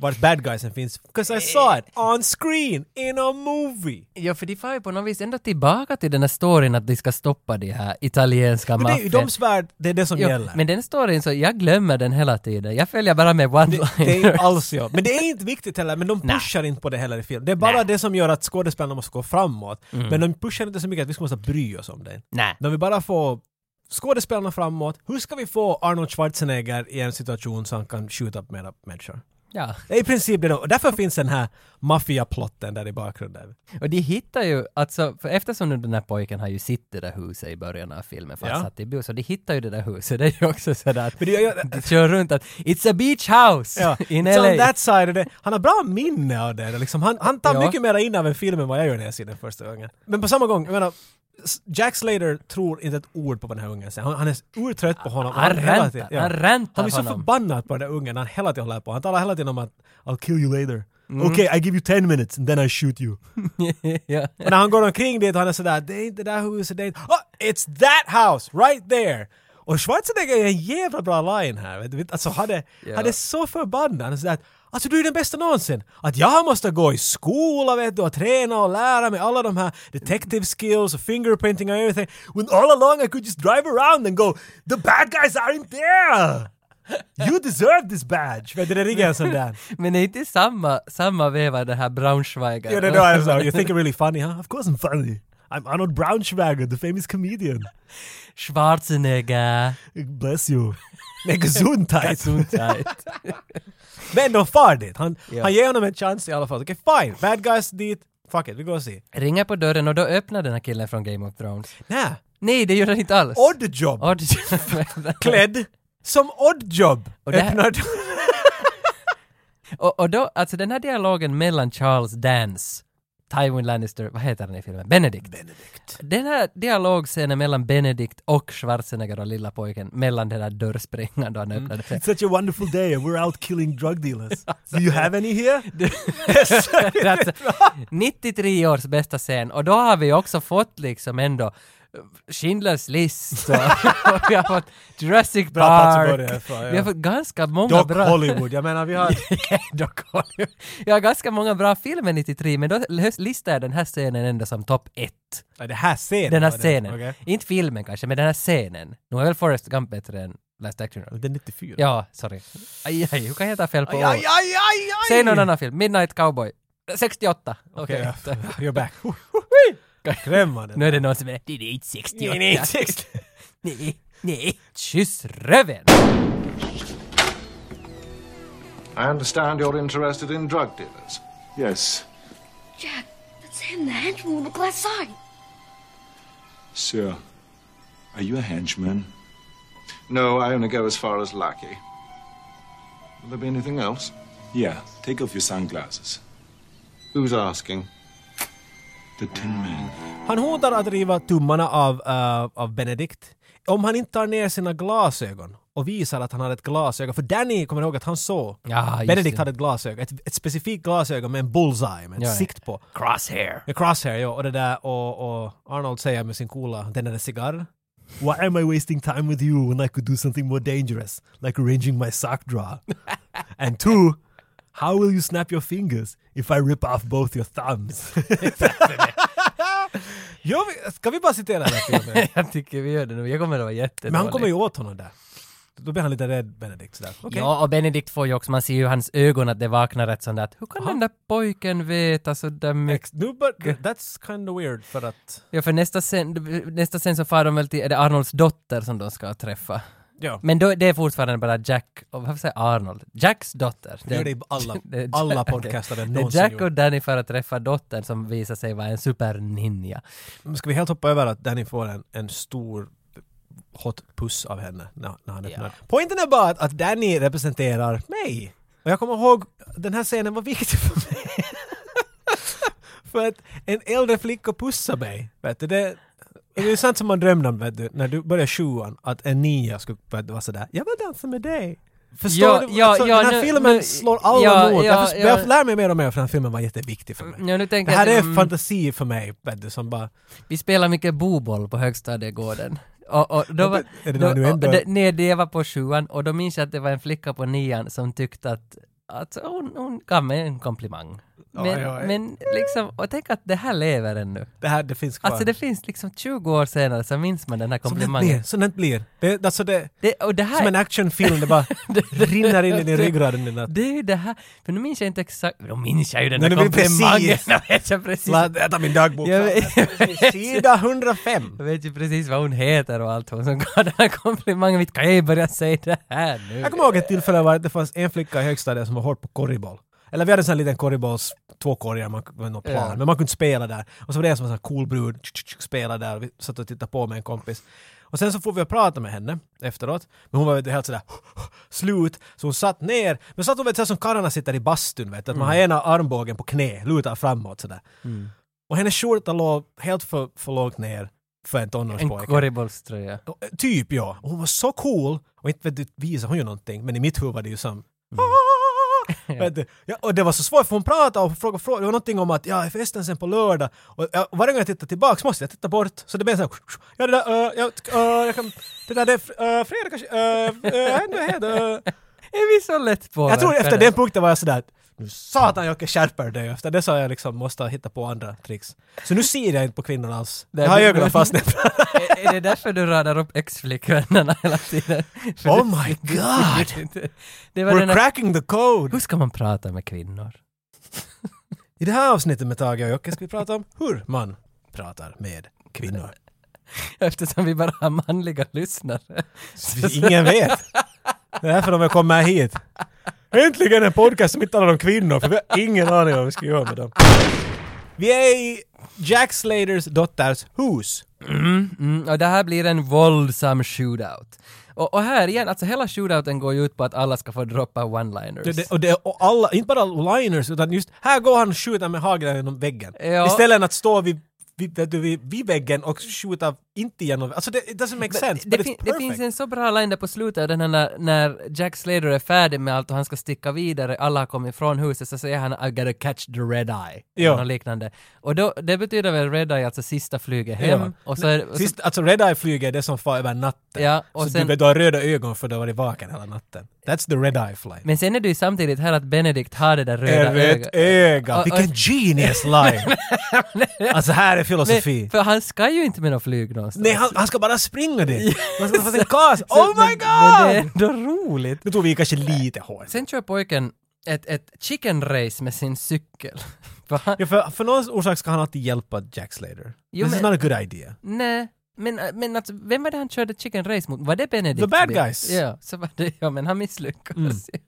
vart bad guysen finns. 'Cause I saw it on screen in a movie. Ja, för de far ju på något vis ändå tillbaka till den här storyn att de ska stoppa de här italienska Men det är ju maffian. de svärd, det är det som Jo, gäller. men den storyn så, jag glömmer den hela tiden. Jag följer bara med Det är one-liners. inte alls jag. Men det är inte viktigt heller, men de pushar inte på det heller i film. Det är bara Nej. det som gör att skådespelarna måste gå framåt. Men de pushar inte så mycket att vi ska måste bry oss om det. *laughs* Nej. De vill bara få skådespelarna framåt. Hur ska vi få Arnold Schwarzenegger i en situation så han kan skjuta på mera människor? Ja. Det är i princip det då. Och därför finns den här maffiaplotten där i bakgrunden. Och de hittar ju, alltså, för eftersom nu den här pojken har ju sitt det där huset i början av filmen, för han Ja. satt i bus, så de hittar ju det där huset, det är ju också sådär att Men det- jag- de kör runt att “It's a beach house” Ja, *laughs* in it's LA. on that side of the, han har bra minne av det. Liksom, han, han tar Ja. mycket mer in av en film än vad jag gör när jag ser den första gången. Men på samma gång, jag menar, S- Jack Slater tror inte ett ord på vad den här ungen säger. Han, han är urtrött på honom. Han hela räntar, tiden- han räntar Han blir så honom. förbannad på den där ungen när han hela tiden håller på. Han talar hela tiden om att I'll kill you later. Mm. Okay, I give you 10 minutes and then I shoot you. ja. *laughs* Och när han går omkring dit och han är sådär, det är inte det där huset, det är inte... Oh, it's that house, right there! Och Schwarzenegger är en jävla bra line här. vet du. Alltså han är, Ja. han är så förbannad. Han är sådär, alltså du är den bästa någonsin! Att jag måste gå i skola vet du och träna och lära mig alla de här detective skills och fingerprinting och everything. When all along I could just drive around and go the bad guys aren't there! You deserve this badge! *laughs* Vet du, det ligger en sån där. Men det är inte samma, samma veva det här Braunschweiger. Yeah, no, no, I'm *laughs* sorry. You think I'm really funny, huh? Of course I'm funny. I'm Arnold Braunschweiger, the famous comedian. Schwarzenegger. Bless you. Nej, gesundheit. Gesundheit. Men de far dit. Han, Ja. han ger honom en chans i alla fall. Okej, fine. Bad guys dit. Fuck it, vi går och ser. Ringer på dörren och då öppnar den här killen från Game of Thrones. Nä. Nej, det gör den inte alls. Oddjob. Odd. Klädd som Oddjob. Och det här- Öppnar dörren. Och, och då, alltså den här dialogen mellan Charles Dance, Tywin Lannister, vad heter han i filmen? Benedict. Benedict. Den här dialogscenen mellan Benedict och Schwarzenegger och lilla pojken, mellan den där dörrspringan då han öppnade. It's *laughs* such a wonderful day and we're out killing drug dealers. Do you have any here? Det är alltså 93 års bästa scen och då har vi också fått liksom ändå Schindler's list och, *laughs* och vi har fått Jurassic Bra plats att Park. börja ifrån, ja. Vi har fått ganska många Doc bra... Hollywood. Jag menar, vi har... *laughs* Doc Hollywood. Jag har ganska många bra filmer 93 men då listar jag den här scenen ändå som topp ett. Nej, det här scenen. Den här var det. scenen. Okej. Inte filmen kanske, men den här scenen. Nu är väl Forrest Gump bättre än Last Action Hero? Det är 94. Ja, sorry. Aj, aj, hur kan jag ta fel på Aj, år? aj, aj, aj, aj! Säg någon annan film. Midnight Cowboy. 68. Okej. Okej, you're back. Skrämmande. *laughs* nu är det någon som är... Det är inte 68. Nej, nej, text. *laughs* Nej, nej. Kyss röven! I understand you're interested in drug dealers. Yes, Jack, that's him, the henchman with the glass eye. sir. Are you a henchman? No, I only go as far as Lucky. Will there be anything else? Yeah, take off your sunglasses. Who's asking? the Tin Man. *laughs* Han hotar att riva tummarna av, eh, av Benedikt om han inte tar ner sina glasögon och visar att han har ett glasöga. För Danny kommer ihåg att han såg Ja, just Benedikt det. hade ett glasöga, ett, ett specifikt glasöga med en bullseye, med ett Ja, ja. sikt på. Crosshair. Med crosshair, ja. Och det där, och, och Arnold säger med sin coola tändande cigarr. Why am I wasting time with you when I could do something more dangerous? Like arranging my sock *laughs* drawer. And two, how will you snap your fingers if I rip off both your *laughs* thumbs? jo, vi- ska vi bara citera den här filmen? *laughs* jag tycker vi gör det nu. Jag kommer att vara jättedålig. Men han kommer ju åt honom där. Då blir han lite rädd, Benedikt. Sådär. Okej. Ja, och Benedikt får ju också, man ser ju i hans ögon att det vaknar ett sånt där att hur kan den där pojken veta så där mycket? Ex- Nu, bör- that's kind of weird för att... Ja, för nästa sen, nästa sen så far de väl till, är det Arnolds dotter som de ska träffa? Ja. Men då, det är fortfarande bara Jack, och varför säger jag Arnold? Jacks dotter. Vi gör det i alla- *laughs* det är alla Jack- podcaster vi *laughs* Det är någonsin Jack gjort. och Danny för att träffa dottern som visar sig vara en superninja. Men Ska vi helt hoppa över att Danny får en, en stor hot puss av henne när, när han öppnar? Poängen är bara att, att Danny representerar mig. Och jag kommer ihåg, den här scenen var viktig för mig. *laughs* för att en äldre flicka pussar mig. Vet du, det, det är sant som man drömde om vet du, när du började sjuan, att en nia skulle vet du, vara sådär ”jag vill dansa med dig”. Förstår Ja, du? ja, Alltså, ja, den här nu- filmen nu- slår alla ja, emot. ja, jag, först- ja. jag lär mig mer och mer för den här filmen var jätteviktig för mig. Ja, nu tänker det här jag är att- mm. fantasi för mig, vet du, som bara Vi spelar mycket boboll på högstadiegården. Och, och då var, Är det då, någon nu och- ändå? och det- nej, det var på sjuan och då minns jag att det var en flicka på nian som tyckte att, att hon, hon gav mig en komplimang. Men, oj. men liksom, och tänk att det här lever ännu. det här, det finns kvar. Alltså det finns liksom 20 år senare så minns man den här Sånt det blir, komplimangen. sånt det blir. Det, alltså det, Det, och det här, som en actionfilm, det *laughs* bara rinner in i din ryggrad. i natt. det är ju det här, för nu minns jag inte exakt, då minns jag ju den Nej, där nu blir det komplimangen. precis. Jag vet ju precis. La- Jag tar min dagbok. Jag vet- jag vet. Sida 105. Jag vet ju precis vad hon heter och allt hon som gav den här komplimangen. Vi kan jag ju börja säga det här nu. Jag kommer ihåg ett tillfälle var att det fanns en flicka i högstadiet som var hård på korriboll. Eller vi hade en sån här liten korribolls, två korgar man, med någon plan, Ja. men man kunde spela där. Och så var det en som var en sån här cool brud, tsk, tsk, tsk, spelade där, och vi satt och tittade på med en kompis. Och sen så får vi och prata med henne efteråt, men hon var vet du, helt sådär *laughs* slut, så hon satt ner, men satt hon vet du, så här som karlarna sitter i bastun vet du, att man har Mm. ena armbågen på knä, lutar framåt sådär. Och hennes skjorta låg helt för, för lågt ner för en En tonårspojke. korribollströja. Och, eh, Typ ja. Och hon var så cool. Och inte vet du, visade hon ju någonting. Men i mitt huvud var det ju som... "Ah!" Vet du? Ja, och det var så svårt för hon pratade och frågade frågor. Det var någonting om att ja, är festen sen på lördag? Och ja, varje gång jag tittar tillbaks måste jag titta bort. Så det blev såhär... Ja det där... Uh, jag, eh, jag kan, det där det är fr- eh, fredag kanske... Uh, uh, ändå är det... eh." Är vi så lätt påverkade? Jag tror efter *laughs* den punkten var jag sådär... Nu satan Jocke skärper dig! Efter det så har jag liksom måste hitta på andra tricks. Så nu ser jag inte på kvinnor alls. Nej, Jag har men- ögonen fast är, är det därför du radar upp ex-flickvännerna hela tiden? *laughs* För Oh du- my du- du- God. du- du- Det var den We're här, cracking the code! hur ska man prata med kvinnor? I det här avsnittet med Tage och Jocke ska vi prata om hur man pratar med kvinnor. *laughs* Eftersom vi bara har manliga lyssnare. Så Ingen vet. Det är därför de vill komma hit. Äntligen en podcast som inte talar om kvinnor, för vi har ingen aning om vad vi ska göra med dem. Vi är i Jack Slaters dotters hus. Mm, och det här blir en våldsam shootout. Och, och här igen, alltså hela shootouten går ju ut på att alla ska få droppa Det, one-liners. det, och, det, och alla, inte bara liners, utan just här går han och skjuter med hageln genom väggen. Ja. Istället än att stå vid, vid, vet du, vid, vid väggen och skjuta inte genom... Alltså det it doesn't make sense, det, but fin- it's det finns perfect. en så bra line där på slutet, den här när, när Jack Slater är färdig med allt och han ska sticka vidare, alla har kommit från huset, så säger han I gotta catch the red eye. Ja. Eller något liknande. Och då, det betyder väl red eye, alltså sista flyget hem. Ja. Och så är, och så, Sist, alltså Red Eye flyger är det som far över natten. Ja, och så sen- du, du har röda ögon för du har varit vaken hela natten. That's the Red Eye fly. men sen är det ju samtidigt här att Benedict har det där röda Ett rött ögat. öga! Och- och- Vilken genius *laughs* line! alltså här är filosofi. Men- För han ska ju inte med något flyg någonstans. Nej, han, han ska bara springa dit! Han ska få sin kas! *laughs* Så- Oh my men- Men det är god! *laughs* ändå roligt. Nu tog vi kanske lite hårt. Sen kör pojken ett, ett chicken race med sin cykel. *laughs* För han, Ja, för, för någon orsak ska han alltid hjälpa Jack Slater. Jo, This is men- not a good idea. Nej, men, men alltså, vem var det han körde chicken race mot? Var det Benedict? The bad Bill? guys. Mm. Ja, så var det, ja men han misslyckades ju.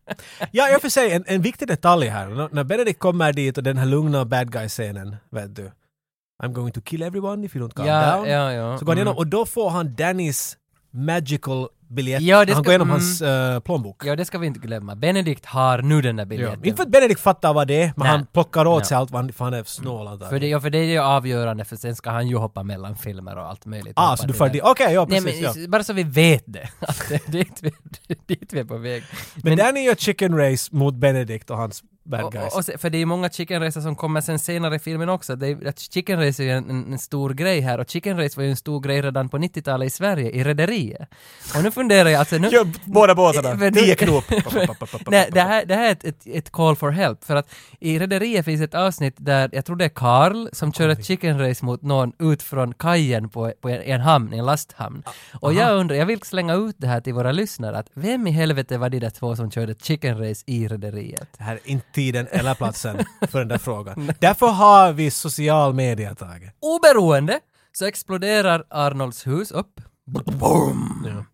Ja, jag får säga en, en viktig detalj här. N- när Benedict kommer dit och den här lugna bad guy-scenen, vet du. I'm going to kill everyone if you don't calm Ja, Mm. down. ja, ja. Så går han igenom Mm. och då får han Dannys magical biljett. Ja, det han ska- går igenom mm. hans eh, plånbok. Ja, det ska vi inte glömma. Benedikt har nu den där Ja. biljetten. Inte för att Benedikt fattar vad det är, men Nej. han plockar åt Ja. Mm. sig allt vad han, för han är snål antagligen. För det, ja, för det är ju avgörande, för sen ska han ju hoppa mellan filmer och allt möjligt. Ah, Hoppa så du till för den. det. Okej, ja Nej, precis. men ja. s- bara så vi vet det. *laughs* Att det är dit vi, *laughs* dit vi är på väg. Men där ni gör chicken race mot Benedict och hans bad och, guys. och, och, se- för det är ju många Chicken Racer som kommer sen senare i filmen också. Det är, att Chicken Race är ju en, en, en stor grej här och Chicken Race var ju en stor grej redan på 90-talet i Sverige, i Rederiet. Och nu funderar jag, alltså nu... Gör båda båtarna, Eh, *laughs* men- tio knop. Nej, det här, det här är ett, ett, ett call for help, för att i Rederiet finns ett avsnitt där, jag tror det är Karl, som kör ett chicken race mot någon ut från kajen på, på en, en hamn, en lasthamn. Och jag undrar, jag vill slänga ut det här till våra lyssnare, att vem i helvete var de där två som körde chicken race i Rederiet? Det här är inte tiden eller platsen för den där frågan. Därför har vi social media, Tage. Oberoende så exploderar Arnolds hus upp. Boom!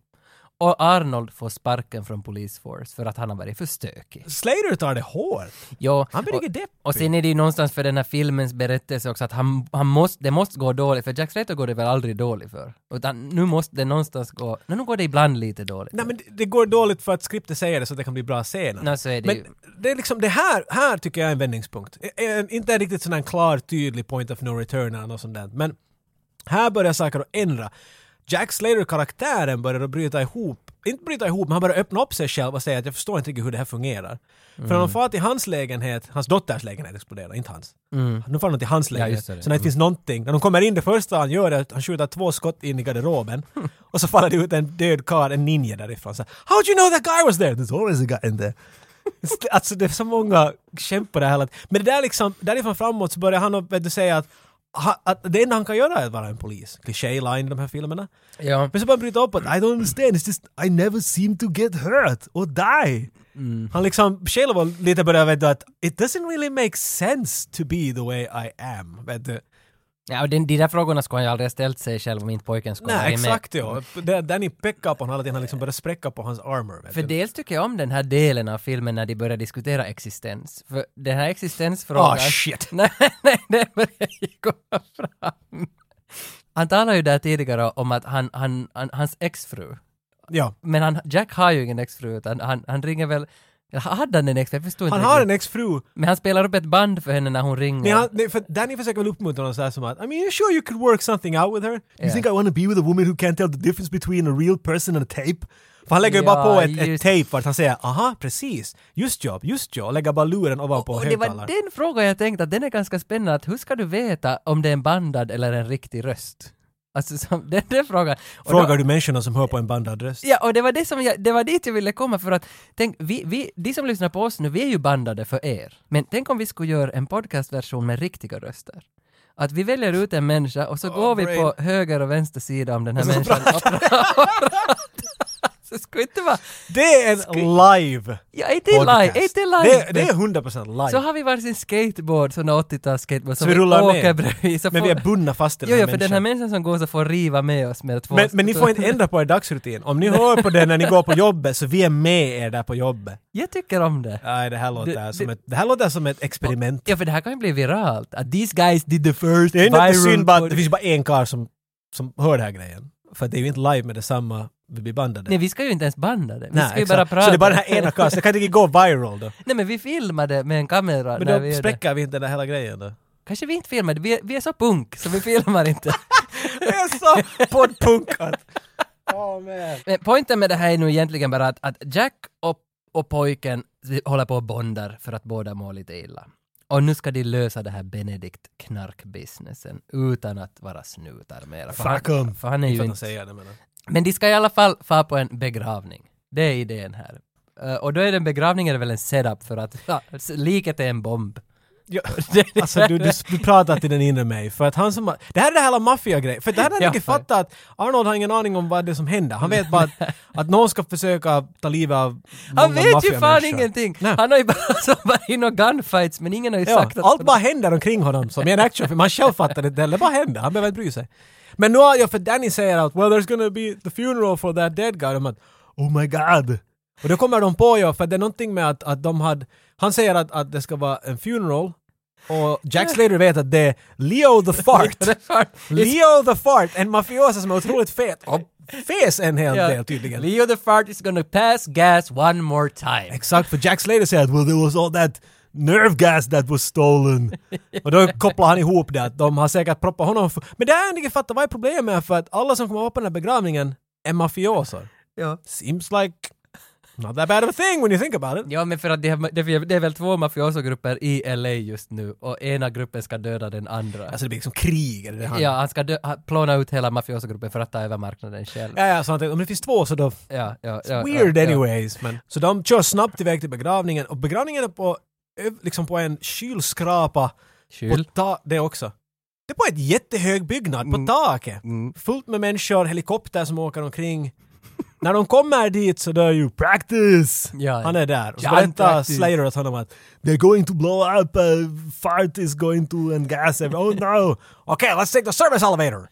Och Arnold får sparken från Police Force för att han har varit för stökig. Slater tar det hårt. Ja, Han blir och- riktigt deppig. Och sen är det ju någonstans för den här filmens berättelse också att han, han måste, det måste gå dåligt, för Jack Slater går det väl aldrig dåligt för? Utan nu måste det någonstans gå, nu går det ibland lite dåligt. Nej men det- det går dåligt för att skriptet säger det så att det kan bli bra scener. Nej, så är det men ju. det är liksom det här, här tycker jag är en vändningspunkt. E- en- Inte en riktigt sån här klar tydlig point of no return eller något sånt där. Men här börjar saker att ändra. Jack Slater-karaktären börjar att bryta ihop. Inte bryta ihop, men han börjar öppna upp sig själv och säga att jag förstår inte riktigt hur det här fungerar. För Mm. när de far till hans lägenhet, hans dotters lägenhet exploderar, inte hans. Nu far de till hans lägenhet. Mm. just det. Mm. så när det finns någonting, när de kommer in, det första han gör är att han skjuter två skott in i *laughs* garderoben. och så faller det ut en död karl, en ninja därifrån. Så, här, How'd you know that guy was there? There's always a guy in there. Alltså det är så många kämpar på det här. landet. Men det där liksom, därifrån framåt så börjar han att, vet du, säga att, ha- att det enda han kan göra är att vara en polis. Kliché-line i de här filmerna. Ja. Men så bara bryta upp att I don't understand, it's just I never seem to get hurt or die. Mm. Han liksom själv var lite började veta att it doesn't really make sense to be the way I am. Vet du? ja och den, de där frågorna skulle han ju aldrig ha ställt sig själv om inte pojken skulle ha Nej, varit med. exakt ja. Det- Danny pekar på honom hela tiden, han liksom börjar spräcka på hans armor. Vet För du? dels tycker jag om den här delen av filmen när de börjar diskutera existens. För den här existensfrågan... Ah shit! *laughs* Nej, nej, det börjar ju komma fram. Han talar ju där tidigare om att han, han, han, hans exfru, Ja. men han, Jack har ju ingen exfru, utan han, han ringer väl... eller Hade han en exfru? Jag förstår Han inte. har en riktigt. exfru Men han spelar upp ett band för henne när hon ringer. Nej, han, nej, för Danny försöker väl uppmuntra honom så här som att I mean you sure you could work something out with her? You Ja. think I wanna be with a woman who can't tell the difference between a real person and a tape? För han lägger ju bara Ja, på ett, ett just- tape vart han säger aha precis, just ja, just ja, och lägger bara luren ovanpå och det var högtalaren. den frågan jag tänkte att den är ganska spännande, att hur ska du veta om det är en bandad eller en riktig röst? Alltså som, *laughs* den, den frågan. Och då- Frågar du människorna som hör på en bandad röst? Ja, och det var, det, som jag, det var dit jag ville komma för att, tänk, vi, vi, de som lyssnar på oss nu, vi är ju bandade för er. Men tänk om vi skulle göra en podcastversion med riktiga röster. Att vi väljer ut en människa och så går vi brain. på höger och vänster sida om den här människan. Och pratar. *laughs* så skulle inte vara... Det är en live Ja, inte live, podcast. inte Det, live. det är 100% live. så har vi varsin skateboard, sån 80-tals skateboard, som vi rullar med. åker bredvid. så men får- vi är bundna fast i Jo, den jo, här för den här människan som går så får riva med oss med två... men, men ni får inte ändra på er dagsrutin. Om ni hör på det när ni går på jobbet så vi är med er där på jobbet. Jag tycker om det. Nej, det här låter, Det- som, det- ett, det här låter som ett experiment. Ja, för det här kan ju bli viralt. Att these guys did the first Det är ju inte viral... synd bara att det pod- finns bara en karl som, som hör den här grejen. För det är ju inte live med detsamma vi blir bandade. Nej, vi ska ju inte ens banda det. Vi Nej, ska ju exakt. bara prata. Så det är bara den här ena karln, så det kan inte gå viral då. *laughs* Nej, men vi filmade med en kamera när Men vi då gjorde- spräcker vi inte den här hela grejen då. Kanske vi inte filmade, vi är, vi är så punk så vi *laughs* filmar inte. Det är så *laughs* poddpunkat! Åh man. *laughs* Men poängen med det här är nu egentligen bara att, att Jack och, och pojken håller på och bondar för att båda mår lite illa. Och nu ska de lösa det här Benedikt knarkbusinessen utan att vara snutar mera. För Fuck han, 'em. För han är Inte ju för att de inte säger det men... Men de ska i alla fall fara på en begravning. Det är idén här. Eh, och då är den begravningen väl en setup för att ja, s- liket är en bomb. Ja, *laughs* alltså du, du, du pratar till den inre mig, för att han som har, Det här är det här hela maffiagrejen, för det här är Ja. inte fattat att Arnold har ingen aning om vad det är som händer. Han vet bara att, att någon ska försöka ta livet av Han många vet ju fan maffiamänniskor. ingenting! Nej. Han har ju bara *laughs* så bara in och gunfights men ingen har ju Ja, sagt att... allt bara händer omkring honom som i en actionfilm. Han själv fattar det inte heller. Det bara händer. Han behöver inte bry sig. Men nu har jag för Danny säger att “Well, there's gonna be the funeral for that dead guy”. De att “Oh my god”. Och då kommer de på ju, för det är någonting med att, att de hade... Han säger att, att det ska vara en funeral Och Jack Slater vet att det är Leo the *laughs* Fart. The Fart. Leo the Fart, en mafiosa som är otroligt fet. Och fes en hel Ja. del tydligen. Leo the fart is gonna pass gas one more time. Exakt, för Jack Slater säger att well, there was all that nerve gas that was stolen. Och då kopplar han ihop det att de har säkert proppat honom. För... Men det har jag inte fattat, vad är problemet? För att alla som kommer vara på den här begravningen är mafioser. Ja. Seems like not that bad of a thing when you think about it. Ja men för att det, är- det, är- det är väl två mafioso-grupper i LA just nu och ena gruppen ska döda den andra. Alltså det blir liksom krig. Är det det han... ja, han ska dö- ha- plåna ut hela mafioso-gruppen för att ta över marknaden själv. Ja, ja, så han tänkte, om det finns två så då Ja, ja, ja, Weird ja, anyways. Men. Så de kör snabbt iväg till begravningen och begravningen är på, ö- liksom på en kylskrapa. Ja. Kyl. På ta- det också. Det är på ett jättehög byggnad på taket. Fullt med människor, helikopter som åker omkring. *laughs* När de kommer dit så dör ju practice! Ja, ja. Han är där. Och så Ja, berättar practice. Slater åt honom att “They're going to blow up, uh, fart is going to and gas every- oh no! *laughs* Okay, let's take the service elevator!”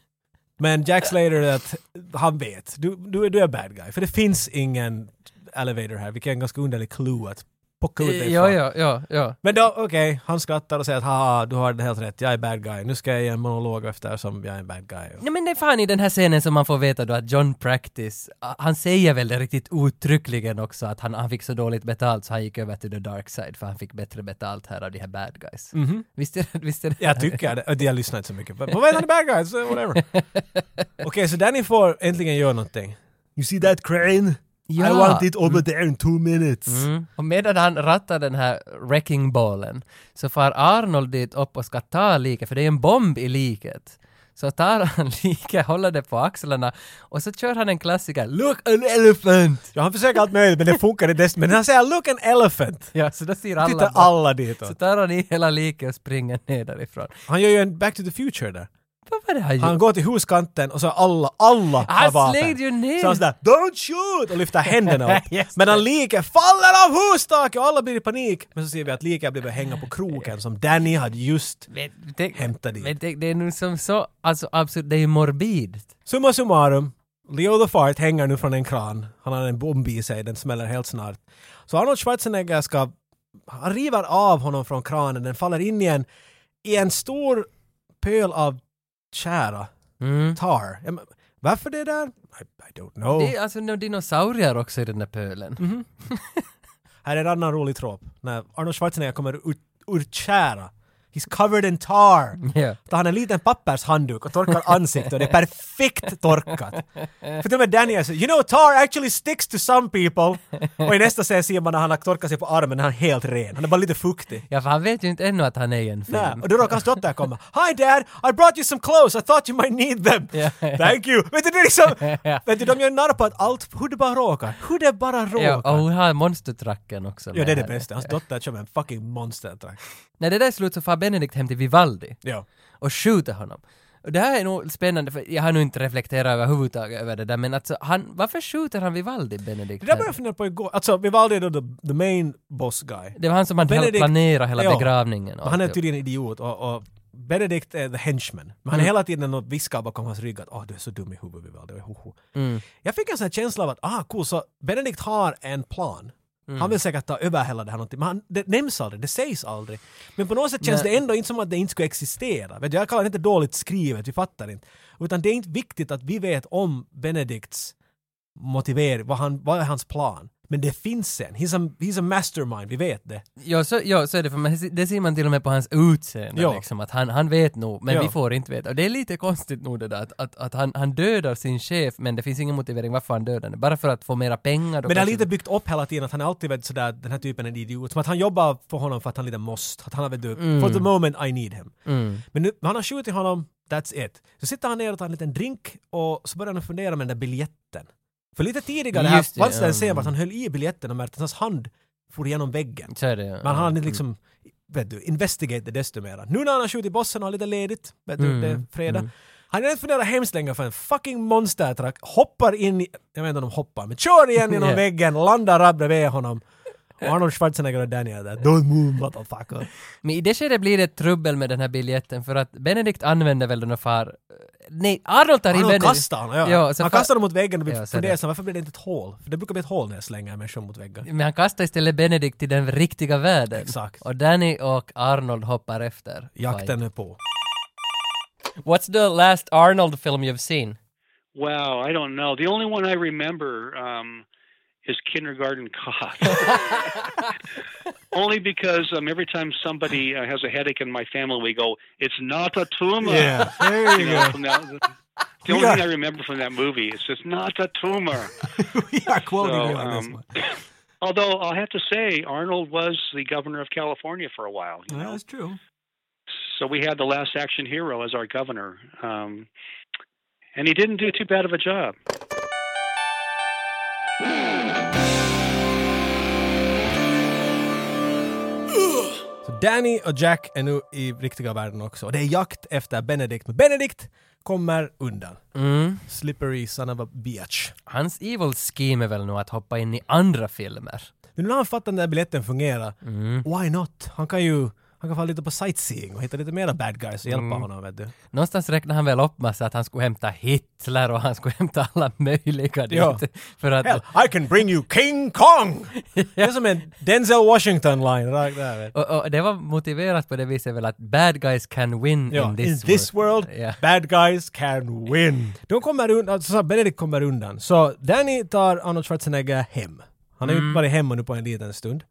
Men Jack Slater, att han vet. Du, du, är- du är bad guy. För det finns ingen elevator här, vilket är en ganska underlig clue att pocka ut dig Ja, från. ja, ja, ja. Men då, okej, han skrattar och säger att haha, du har det helt rätt, jag är bad guy. Nu ska jag ge en monolog efter som jag är en bad guy. Nej men det är fan i den här scenen som man får veta då att John Practice, a- han säger väl det riktigt uttryckligen också att han, han fick så dåligt betalt så han gick över till the dark side för han fick bättre betalt här av de här bad guys. Mhm. Visst är det? Visst är det? Jag tycker det, och jag lyssnar inte så mycket. Men vad är han bad guy? So *laughs* whatever. okej, så Danny får äntligen göra någonting. You see that crane? Ja. want it over there in two minutes. Mm. Och medan han rattar den här wrecking ballen så far Arnold dit upp och ska ta liket, för det är en bomb i liket. Så tar han *laughs* liket, håller det på axlarna och så kör han en klassiker “Look an elephant!” Ja, han försöker allt möjligt men det funkar inte. desto- Men han säger “Look an elephant”. Ja, så då ser alla Titta bara- alla Så ditåt. tar han i hela liket och springer ner därifrån. Han gör ju en Back to the Future där. Vad var det han Han gjorde? går till huskanten och så alla, alla har Han vapen. slängde ju ner! Så han sådär “Don't shoot!” och lyfter händerna upp. *laughs* Just det. Medan liket faller av hustaket och alla blir i panik. Men så ser vi att liket blir börjat hänga på kroken som Danny hade just Men det- hämtat dit. Men det, det är nu som så, alltså absolut, det är ju morbidigt. Summa summarum, Leo the Fart hänger nu från en kran. Han har en bomb i sig, den smäller helt snart. Så Arnold Schwarzenegger ska... Han river av honom från kranen, den faller in igen i en stor pöl av tjära, Mm. tar. Ja, men Varför det där? I, I don't know. Det är alltså några dinosaurier också i den där pölen. Mhm. Här är en annan rolig trop. När Arnold Schwarzenegger kommer ur, ur tjära. He's covered in tar. Ja. Tar han en liten pappershandduk och torkar ansiktet och det är perfekt torkat. För till och med Daniel säger “You know tar actually sticks to some people” och i nästa scen ser man när han har torkat sig på armen, han är helt ren. Han är bara lite fuktig. Ja, för han vet ju inte ännu att han är i en film. Nej, och då råkar hans dotter komma. “Hi dad, I brought you some clothes, I thought you might need them. Ja. Thank you.” Vet du, det är *laughs* liksom... Ja. Vet du, de gör narr på att allt, hur det bara råkar. Hur det bara råkar. Ja, och hon har monstertracken också. Ja, med det är det här. bästa. Hans dotter kör med en fucking monstertrack. När det där är slut så far Benedict hem till Vivaldi Ja. och skjuter honom. Och det här är nog spännande, för jag har nog inte reflekterat överhuvudtaget över det där, men alltså, han, varför skjuter han Vivaldi, Benedict? Det där här? började jag fundera på igår. Alltså Vivaldi är då the, the main boss guy. Det var han som hade Benedict- planerat hela Ja. begravningen. Och han är alltihop. tydligen idiot och, och Benedict är the henchman. Men han är hela tiden och viskar bakom hans rygg att åh du är så dum i huvudet Vivaldi. Och hoho." Jag fick en sån här känsla av att ah cool, så Benedict har en plan. Han vill säkert ta över hela det här någonting. Men han, det nämns aldrig, det sägs aldrig. Men på något sätt känns det ändå inte som att det inte skulle existera. Vet du, jag kallar det inte dåligt skrivet, vi fattar inte. Utan det är inte viktigt att vi vet om Benedicts motivering, vad, han, vad är hans plan. Men det finns en. He's a, he's a mastermind, vi vet det. Ja så, ja, så är det, för man, det ser man till och med på hans utseende Ja. liksom, att han, han vet nog, men Ja. vi får inte veta. Och det är lite konstigt nog det där, att, att, att han, han dödar sin chef, men det finns ingen motivering varför han dödar henne. Bara för att få mera pengar. då Men det har kanske- lite byggt upp hela tiden att han är alltid vet, sådär, den här typen är en idiot. Som att han jobbar för honom för att han lite måste. Att han har vet du, Mm. for the moment I need him. Men nu, han har skjutit honom, that's it. Så sitter han ner och tar en liten drink och så börjar han fundera med den där biljetten. För lite tidigare här Just det, fanns det en ja, scen mm. vart han höll i biljetten och märkte att hans hand for igenom väggen. Så är det, ja. Men han hade liksom, vet du, investigate det desto mera. Nu när han har skjutit bossen och har lite ledigt, vet du, Mm, det är fredag. mm. Han har inte funderat hemskt länge för en fucking monstertruck hoppar in, i, jag vet inte om de hoppar, men kör igen genom Ja. väggen, landar rakt bredvid honom. Och Arnold Schwarzenegger och Daniel där, don't move motherfucker. Men i det skedet blir det ett trubbel med den här biljetten, för att Benedikt använder väl den och far Nej, Arnold tar in Han Benedict. kastar honom, ja. Ja, så han fa- kastar dem mot väggen och blir Ja, så fundersam, varför blir det inte ett hål? För det brukar bli ett hål när jag slänger människor mot väggen. Men han kastar istället Benedict i den riktiga världen. Exakt. Och Danny och Arnold hoppar efter. Jakten är på. Fight. What's the last Arnold film you've seen? Wow, I don't know. The only one I remember um, is Kindergarten Cop. *laughs* Only because um, every time somebody uh, has a headache in my family, we go, "It's not a *laughs* tumor." Yeah, there you You know, go. from that- the only thing I remember from that movie is it's not a tumor. we are quoting So, you on this um, one. *coughs* Although I'll have to say, Arnold was the governor of California for a while. You know? that's true. So we had the last action hero as our governor. Um, and he didn't do too bad of a job. Så Danny och Jack är nu i riktiga världen också. Och det är jakt efter Benedict. Men Benedict kommer undan. Slippery son of a bitch. Hans evil scheme är väl nog att hoppa in i andra filmer. Men nu har han fattat den där biljetten fungerar. Why not? Han kan ju... Han kan falla lite på sightseeing och hitta lite mera bad guys och hjälpa honom vet du. Någonstans räknade han väl upp massa att han skulle hämta Hitler och han skulle hämta alla möjliga dit. Ja. För att... Hell, I can bring you King Kong! Det är som en Denzel Washington line rakt där vet du. Och, och det var motiverat på det viset väl att bad guys can win Ja, in this, in this world, *laughs* Ja. bad guys can win. De kommer undan, alltså så här, Benedict kommer undan. Så Danny tar Arnold Schwarzenegger hem. Han har ju varit hemma nu på en liten stund.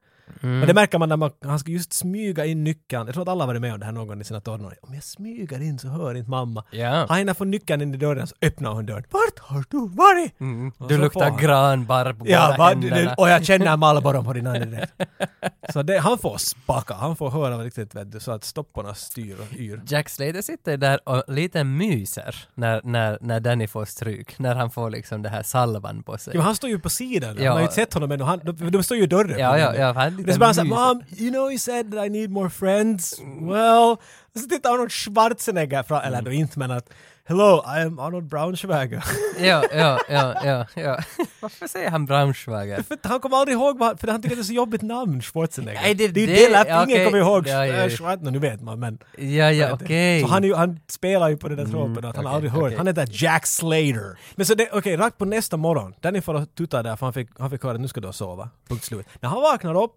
Och det märker man när man, han ska just smyga in nyckeln. Jag tror att alla har varit med om det här någon gång i sina tonår. Om jag smyger in så hör inte mamma. Ja. Han hinner få nyckeln in i dörren så öppnar hon dörren. Vart har du varit? Och Du så får luktar han. granbarr på Ja, båda va, du, händerna. du, och jag känner Malboron på din andedräkt. så det, han får spaka, han får höra riktigt vet du, så att stopporna styr och yr. Jack Slater sitter där och lite myser när, när, när Danny får stryk, när han får liksom det här salvan på sig. Ja, men han står ju på sidan. Ja. Man har ju inte sett honom ännu. Han, de, de står ju i dörren. Ja, ja, ja, han är det lite är så bara såhär, mysig. Mom, you know you said that I need more friends. Well... Och så tittar Arnold Schwarzenegger fram, eller Mm. då inte men att Hello, I am Arnold Braunschweiger. *laughs* Ja, ja, ja, ja, ja. Varför säger han Braunschweiger? för att han kommer aldrig ihåg, vad- för han tycker det är så jobbigt namn, Schwarzenegger. Nej, det- är ju det- det läpp, ingen okej. kommer ihåg Ja, ja, ja. eh, Schwarzenegger, nu vet man men. Ja, ja, okej. Så han, är ju, han spelar ju på den där tropen att han okej, aldrig hört. okej. Han heter Jack Slater. Mm, Men så det, okej, rakt på nästa morgon. Danny får och tuta där för han fick, han fick höra att nu ska du sova. Punkt slut. När han vaknar upp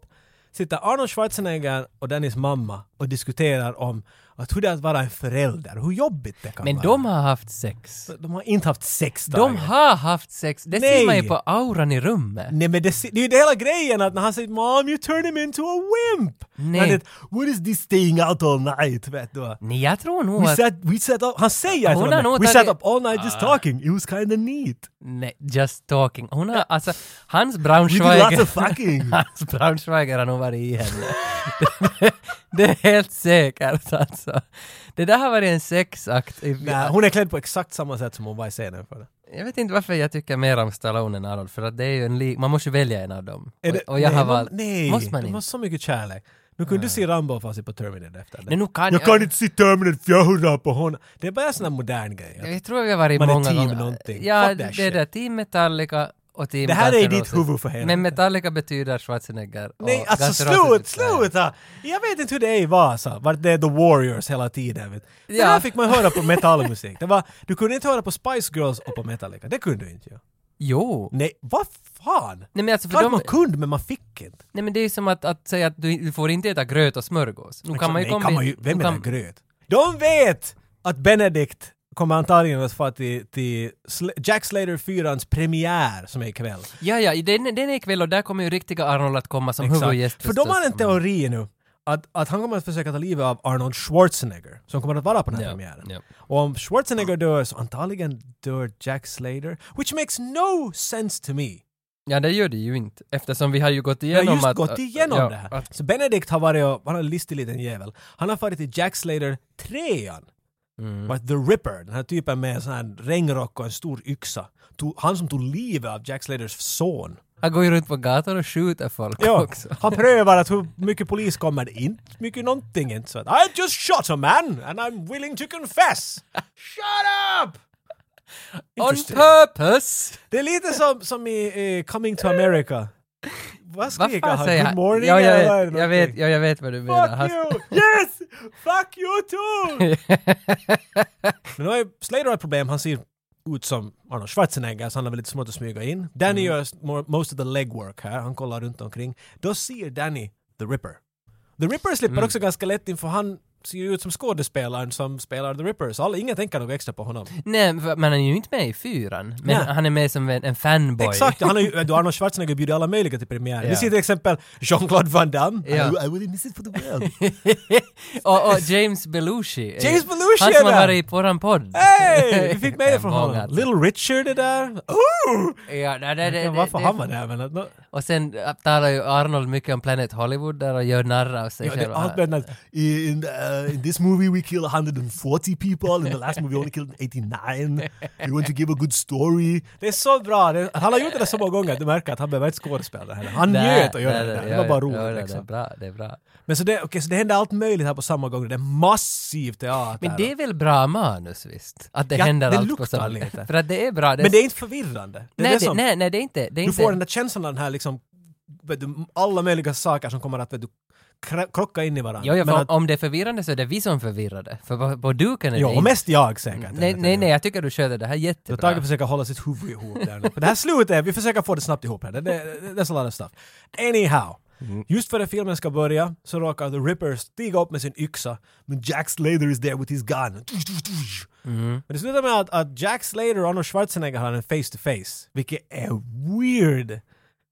sitter Arnold Schwarzenegger och Dannys mamma och diskuterar om att hur det är att vara en förälder, hur jobbigt det kan Men vara. de har haft sex. de har inte haft sex De dagar. har haft sex. Det Nej. ser man ju på auran i rummet. Nej men det, si- det är ju det hela grejen att när han säger “Mom, you turn him into a wimp”! Nej. Han är, “What is this thing out all night?” vet du. Nej, jag tror nog We att... sat, we sat up, han säger Hon till har honom, nog “We tagit- Ah. sat up all night just talking, it was kinda neat”. Nej, just talking. Hon har alltså... Hans We did lots Braunschweiger... of fucking. *laughs* Hans Braunschweiger har nog varit i henne. det, det är helt säkert alltså. Det där har varit en sexakt. i- Nej, hon är klädd på exakt samma sätt som hon var i scenen för det. Jag vet inte varför jag tycker mer om Stallone än Arnold, för att det är ju en li- man måste ju välja en av dem. Är och, det- och jag nej, har man- valt... Nej, måste man de har inte? så mycket kärlek. Nu kunde du se Rambo fast på Terminator efter det. Nej, nu kan jag kan inte se Terminator för jag hurrar på honom. Det är bara en sån här modern grej. Jag tror vi har varit Man är många team gånger. någonting. Ja, Fuck that det är shit. det. Team Metallica och Team Det här är Guns i N' ditt Roses. huvud för helvete. Men Metallica betyder Schwarzenegger. och Nej, alltså Guns N' Roses slut, betyder- sluta! Jag vet inte hur det är i Vasa, vart det är The Warriors hela tiden. Vet. du. Det Ja. där fick man höra på metallmusik. Det var, du kunde inte höra på Spice Girls och på Metallica, det kunde du inte göra. Jo. Nej, vad fan! Nej men, alltså, för Klart de, man kunde, men man fick inte. nej men det är ju som att, att säga att du du får inte äta gröt och smörgås. Nu kan man ju Liksom, Nej, kan man ju, kombi- vem är nu kan- den här gröt? De vet att Benedict kommer antagligen att få till, till Sl- Jack Slater 4ans premiär som är *laughs* ikväll. Ja, ja, den, den är ikväll och där kommer ju riktiga Arnold att komma som huvudgäst. Mm. För de förstås. har en teori nu att, att han kommer att försöka ta livet av Arnold Schwarzenegger som kommer att vara på den här Ja, premiären. ja. Och om Schwarzenegger dör så antagligen dör Jack Slater, which makes no sense to me. Ja, det gör det ju inte. Eftersom vi har ju gått Jag igenom har just att... gått att- igenom ja, det här. Att, Så Benedict har varit och, han är en listig liten jävel. Han har farit till Jack Slater 3an. Mm. Vart The Ripper, den här typen med en sån här regnrock och en stor yxa. Tog, han som tog livet av Jack Slaters son. han går ju runt på gatan och skjuter folk Ja, *laughs* också. han prövar att hur mycket polis kommer det inte mycket någonting inte. Så att I just shot a man and I'm willing to confess. Shut up! On Interesting. purpose! Det är lite som, som i eh, Coming to America. Vad Vad skriker fan han? säger Good han? morning ja, jag, eller jag, någonting? vet, ja, jag vet vad du menar. Han- Fuck you! *laughs* Yes! Fuck you too! *laughs* Men nu har ju Slater ett problem, han ser ut som Arnold Schwarzenegger så han har väl lite svårt att smyga in. Danny gör s- more- most of the legwork här, han kollar runt omkring. Då ser Danny The Ripper. The Ripper slipper också ganska lätt in för han ser ju ut som skådespelaren som spelar The Ripper så alla, ingen tänker något extra på honom. Nej, för man är ju inte med i fyran. Men Nej. han är med som en, en fanboy. Exakt, han har *laughs* ju, du Arnold Schwarzenegger bjuder alla möjliga till premiär. Vi Ja. ser till exempel Jean-Claude Van Damme. Ja. I, I wouldn't miss it for the world. och, och James Belushi. är ju- James Belushi Han är som har där! varit i våran podd. *laughs* Hej! Vi fick mejl från Många. honom. Little Richard är där. Ooh! Ja, nej, det, det, Ja, det, varför det- han var där men... att nå- Och sen äh, talar ju Arnold mycket om Planet Hollywood där och gör narr av sig Ja, det, själv. allt med att in, uh, in this movie we kill 140 people, in the last movie we only killed 89. We want to give a good story. Det är så bra! Det, han har gjort det där så många gånger att du märker att han behöver inte skådespela heller. Han njöt att göra det där. Det var bara roligt Det är liksom. bra, det är bra. Men så det, okay, så det hände allt möjligt här på samma gång. Det är massiv teater. Men det är väl bra manus visst? Att det Ja, händer det allt på luktar samma lite. För att det är bra. men det är inte förvirrande. Det är nej, det som, nej, nej, det är inte. Det är du inte. får den där känslan av den här liksom, vet du, alla möjliga saker som kommer att vet du, kra- krocka in i varandra. Jo, ja, Men för att- om det är förvirrande så är det vi som är förvirrade. För på, på duken är Jo, det och mest jag säkert. Nej, nej, nej, jag tycker du sköter det här Så jättebra. Tage försöker hålla sitt huvud ihop där nu. För det här slutet, vi försöker få det snabbt ihop här. Det, det, that's a lot of stuff. Anyhow. Just före filmen ska börja så råkar The Ripper stiga upp med sin yxa, men Jack Slater is there with his gun. Men det slutar med att, att Jack Slater och Arnold Schwarzenegger har en face to face, vilket är weird.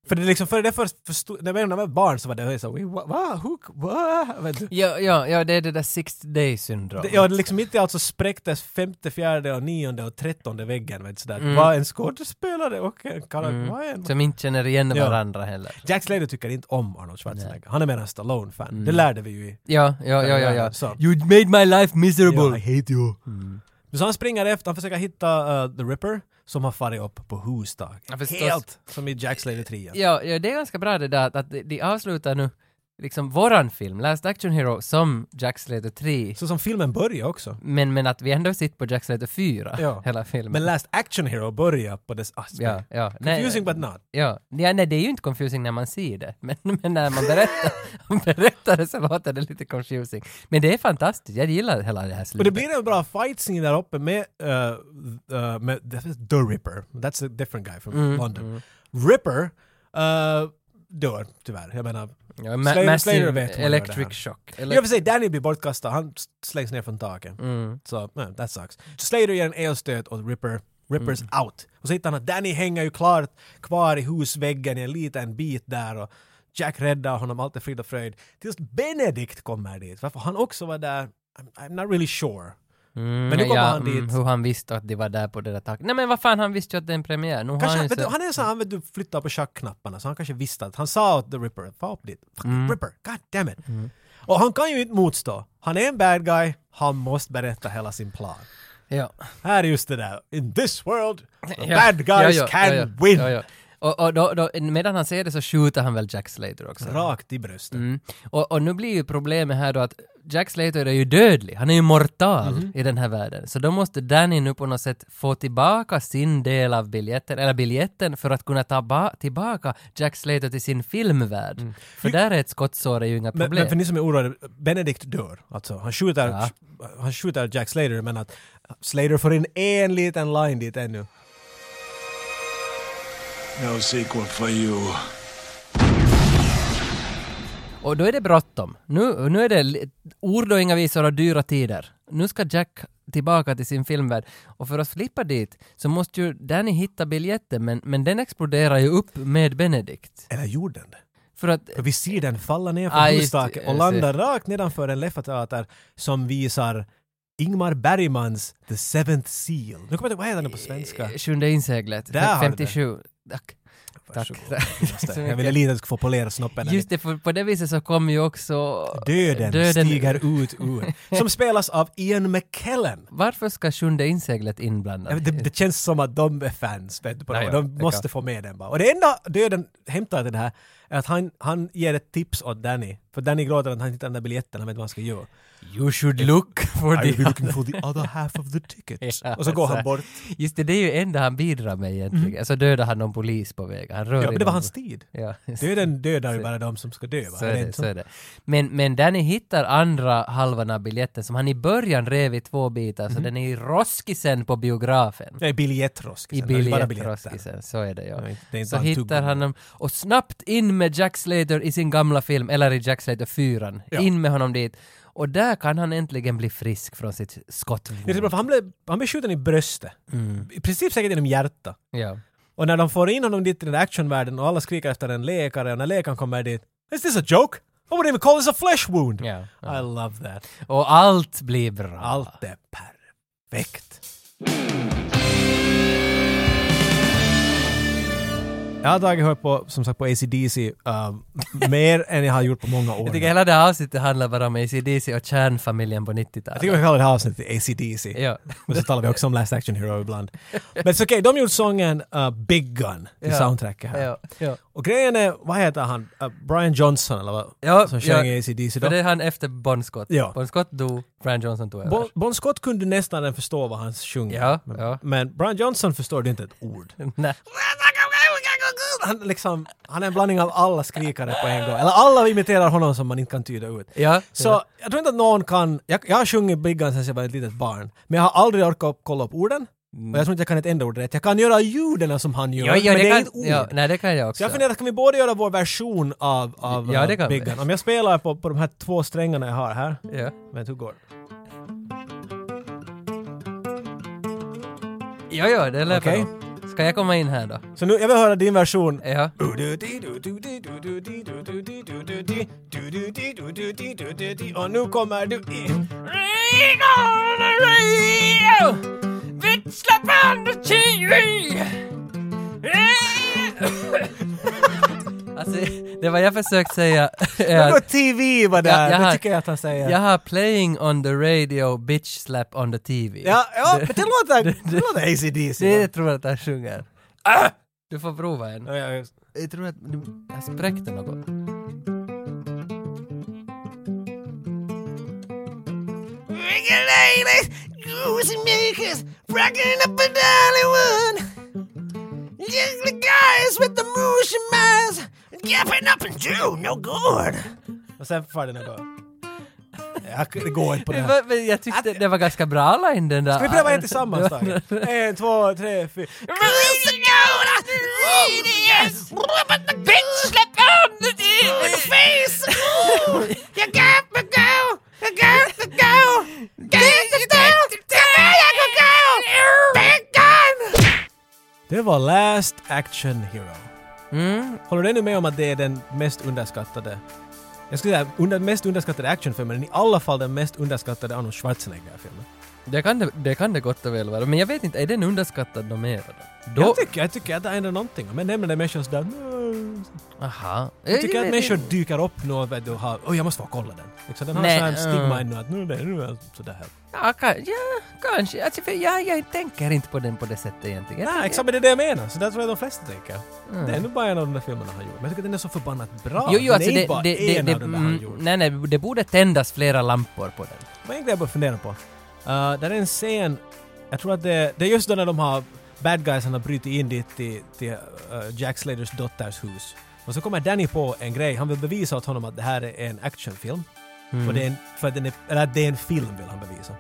För det är liksom, för det först förstod, när jag var barn så var det så, "Wait, va, va, hook, va? Vet du? Ja, ja, ja, det är det där six day syndrom. Det- Ja, det liksom inte alltså spräcktes femte, fjärde och nionde och trettonde väggen. Vet, du, sådär. Mm. Vad en skådespelare och en karaktär. vad en... Som inte känner igen Ja. varandra heller. Jack Slater tycker inte om Arnold Schwarzenegger. Han är mer en Stallone-fan. Mm. Det lärde vi ju i. Ja, ja, ja, ja. ja. Så. You made my life Ja, I miserable. hate you. Mm. Så han springer efter, han försöker hitta uh, The Ripper som har farit upp på hustak. Ja, förstås. Helt som i Jack Slater 3. Ja, ja, det är ganska bra det där att- att de- de avslutar nu liksom våran film, Last Action Hero, som Jack Slater 3. Så som filmen börjar också. Men, men att vi ändå sitter på Jack Slater 4 Ja. hela filmen. Men Last Action Hero börjar på dess aspekt. ja, ja. Nej, Confusing but not. Ja, ja, nej det är ju inte confusing när man ser det, *laughs* men, men när man berättar, *laughs* berättar det så låter det lite confusing. Men det är fantastiskt, jag gillar hela det här Och det slutet. blir en bra fight scene där uppe med, eh, eh, med det är The Ripper. That's a different guy from Mm-hmm. London. Ripper eh, dör tyvärr. Jag menar, ja, ma- Slater- massive Slater vet hur man gör det här. electric shock. i och för sig Danny blir bortkastad. Han s- slängs ner från taket. Mm. Så, eh, that sucks. Slater ger en elstöt åt Ripper. Rippers Mm. out. Och så hittar han att Danny hänger ju klart kvar i husväggen i en liten bit där och Jack räddar honom, allt är frid och fröjd. Tills Benedict kommer dit. Varför han också var där, I'm, I'm not really sure. Mm, Men nu kommer ja, han mm, dit. Hur han visste att de var där på det där taket. Nej men vad fan, han visste ju att det är en premiär. Nu har Kanske, han, ju vet du, så... han är så han vet du, flyttar på schackknapparna så han kanske visste att han sa åt The Ripper, far upp dit, fucking Mm. Ripper, god damn it. Och han kan ju inte motstå. Han är en bad guy, han måste berätta hela sin plan. Ja. Här är just det där, in this world, the Ja, bad guys ja, ja, can ja, ja, win. Ja, ja. Och, och då, då, medan han säger det så skjuter han väl Jack Slater också. Rakt i bröstet. Mm. Och, och nu blir ju problemet här då att Jack Slater är ju dödlig, han är ju mortal Mhm. i den här världen. Så då måste Danny nu på något sätt få tillbaka sin del av biljetten, eller biljetten för att kunna ta ba- tillbaka Jack Slater till sin filmvärld. För där är ett skottsår är ju inga Mm. Men, problem. men för ni som är oroade, Benedict dör. Alltså, han, skjuter, Ja. han skjuter Jack Slater men att Slater får in en liten line dit ännu. No sequel for you. Och då är det bråttom. Nu, nu är det li- ord och inga visor och dyra tider. Nu ska Jack tillbaka till sin filmvärld. Och för att slippa dit så måste ju Danny hitta biljetten, men, men den exploderar ju upp med Benedict. Eller gjorde den det? För att För vi ser den falla ner från Ja, Ah, just det. hustaket och Jag landa rakt nedanför en leffateater som visar Ingmar Bergmans The Seventh Seal. Nu kommer jag inte ihåg, vad heter den på svenska? Eh, Sjunde inseglet. Där har du 57. Tack. Tack. Varsågod. Tack så Jag mycket. ville lite att du skulle få polera snoppen. Just det, för på det viset så kommer ju också Döden, stiger ut ur. Som spelas av Ian McKellen. Varför ska sjunde inseglet Ja, inblandat? men Det, det känns som att de är fans. Vet du, på det. Nej, ja, de det måste kan- få med den bara. Och det enda döden hämtar den här är att han, han ger ett tips åt Danny. För Danny gråter att han inte hittar den där biljetten, han vet inte vad han ska göra. You should look for I will the be looking for the other half of the ticket. *laughs* Ja, och så går han alltså. bort. *laughs* Just det, det är ju enda han bidrar med egentligen. Så dödar han någon polis på vägen. Han rör Mm. Ja, i men det var någon- hans tid. Ja, just det. Döden dödar ju bara de som ska dö. Va? Så är Eller det, inte så är det. Men, men Danny hittar andra halvan av biljetten som han i början rev i två bitar, Mm. så den är i roskisen på biografen. Nej, biljettroskisen. I liksom. Det är bara biljettroskisen, så är det ja. Nej, det är inte så han hittar tuggummi. han dem och snabbt in med Jack Slater i sin gamla film, eller i Jack Slater 4. Ja. In med honom dit. Och där kan han äntligen bli frisk från sitt skottvold. Det är så bra, för han blev, han blev skjuten i bröstet. Mm. I princip säkert genom hjärtat. Ja. Och när de får in honom dit i den där actionvärlden och alla skriker efter en läkare och när läkaren kommer dit Is this a joke? I wouldn't even call this a flesh wound! Ja, I love that. Och allt blir bra. Allt är perfekt. Jag har tagit hört på, som sagt, på ACDC uh, *laughs* mer än jag har gjort på många år. Jag tycker hela det här avsnittet handlar bara om ACDC och kärnfamiljen på 90-talet. Jag tycker vi kallar det här avsnittet ACDC. Ja. Men så talar vi också om Last Action Hero ibland. Men så okej, de gjorde sången uh, Big Gun i Ja. soundtracket här. Ja, ja. Och grejen är, vad heter han? Uh, Brian Johnson eller vad? Ja, som ja. sjöng i ACDC då. För det är han efter Bon Scott. Ja. Bon Scott dog, Brian Johnson tog över. Bon, bon Scott kunde nästan än förstå vad han sjöng. Ja, men, ja. men Brian Johnson förstår inte ett ord. *laughs* Nej. Han, liksom, han är en blandning av alla skrikare på en gång. Eller alla imiterar honom som man inte kan tyda ut. Ja, Så ja. jag tror inte att någon kan... Jag, jag har sjungit Big Gun sedan jag var ett litet barn. Men jag har aldrig orkat upp- kolla upp orden. Och jag tror inte jag kan ett enda ord rätt. Jag kan göra ljuden som han gör, Mm. Ja, ja, men det är kan, inte ord. Ja, nej, det kan jag också. Så jag funderar, kan vi båda göra vår version av, av Ja, eh, det kan Big vi. Gun? Om jag spelar på, på de här två strängarna jag har här. Ja. Men hur går det? ja, ja, det lät Okej. bra. Ska jag komma in här då? Så nu, jag vill höra din version. Ja. Och nu kommer du in. Alltså, det var jag försökt säga. *laughs* är Vadå att TV var där? jag det har- tycker jag att han säger. jag har playing on the radio, bitch slap on the TV. ja, ja men det låter, det låter ACDC. Det va? tror jag att han sjunger. Ah! Du får prova en. Ja, ja, just. Jag tror att du- jag spräckte något. Och sen far det något. Jag, det går inte på det Men här. vad- men jag tyckte det var ganska bra line den där. Ska vi pröva en tillsammans *laughs* då? En, två, tre, fyra. Det var Last Action Hero. Mm. Håller du ännu med om att det är den mest underskattade jag skulle säga under, mest underskattade actionfilmen, i alla fall den mest underskattade Arnold Schwarzenegger-filmen. Det kan det, det kan det gott och väl vara, men jag vet inte, är den underskattad något mer? Då? Jag tycker, jag tycker att det ändrar någonting. Men nämner det människor sådär... "Nej." Aha. Jag tycker att vet människor inte. dyker upp nu och vet du, har, "Oj, jag måste få kolla den. Liksom, de har Nej, sån här mm. stigma ännu att nu, det, nu är det sådär här. Ja, kan, ja kanske. Alltså, för jag, jag tänker inte på den på det sättet egentligen. Nej, exakt men det är det jag menar. Så där tror jag de flesta tänker. Det är nu bara en av de där filmerna han gjort. Men jag tycker att den är så förbannat bra. Jo, jo, den alltså är inte det, bara det, det, en det, av de där han mm, gjort. nej, nej, det borde tändas flera lampor på den. Vad är en grej jag börjar fundera på? Uh, där är en scen, jag tror att det, det är just då när de har bad guysen har brutit in dit till, till eh, Jack Slaters dotters hus. Och så kommer Danny på en grej, han vill bevisa åt honom att det här är en actionfilm. Och det är en, för att den är, eller att det är en film vill han bevisa.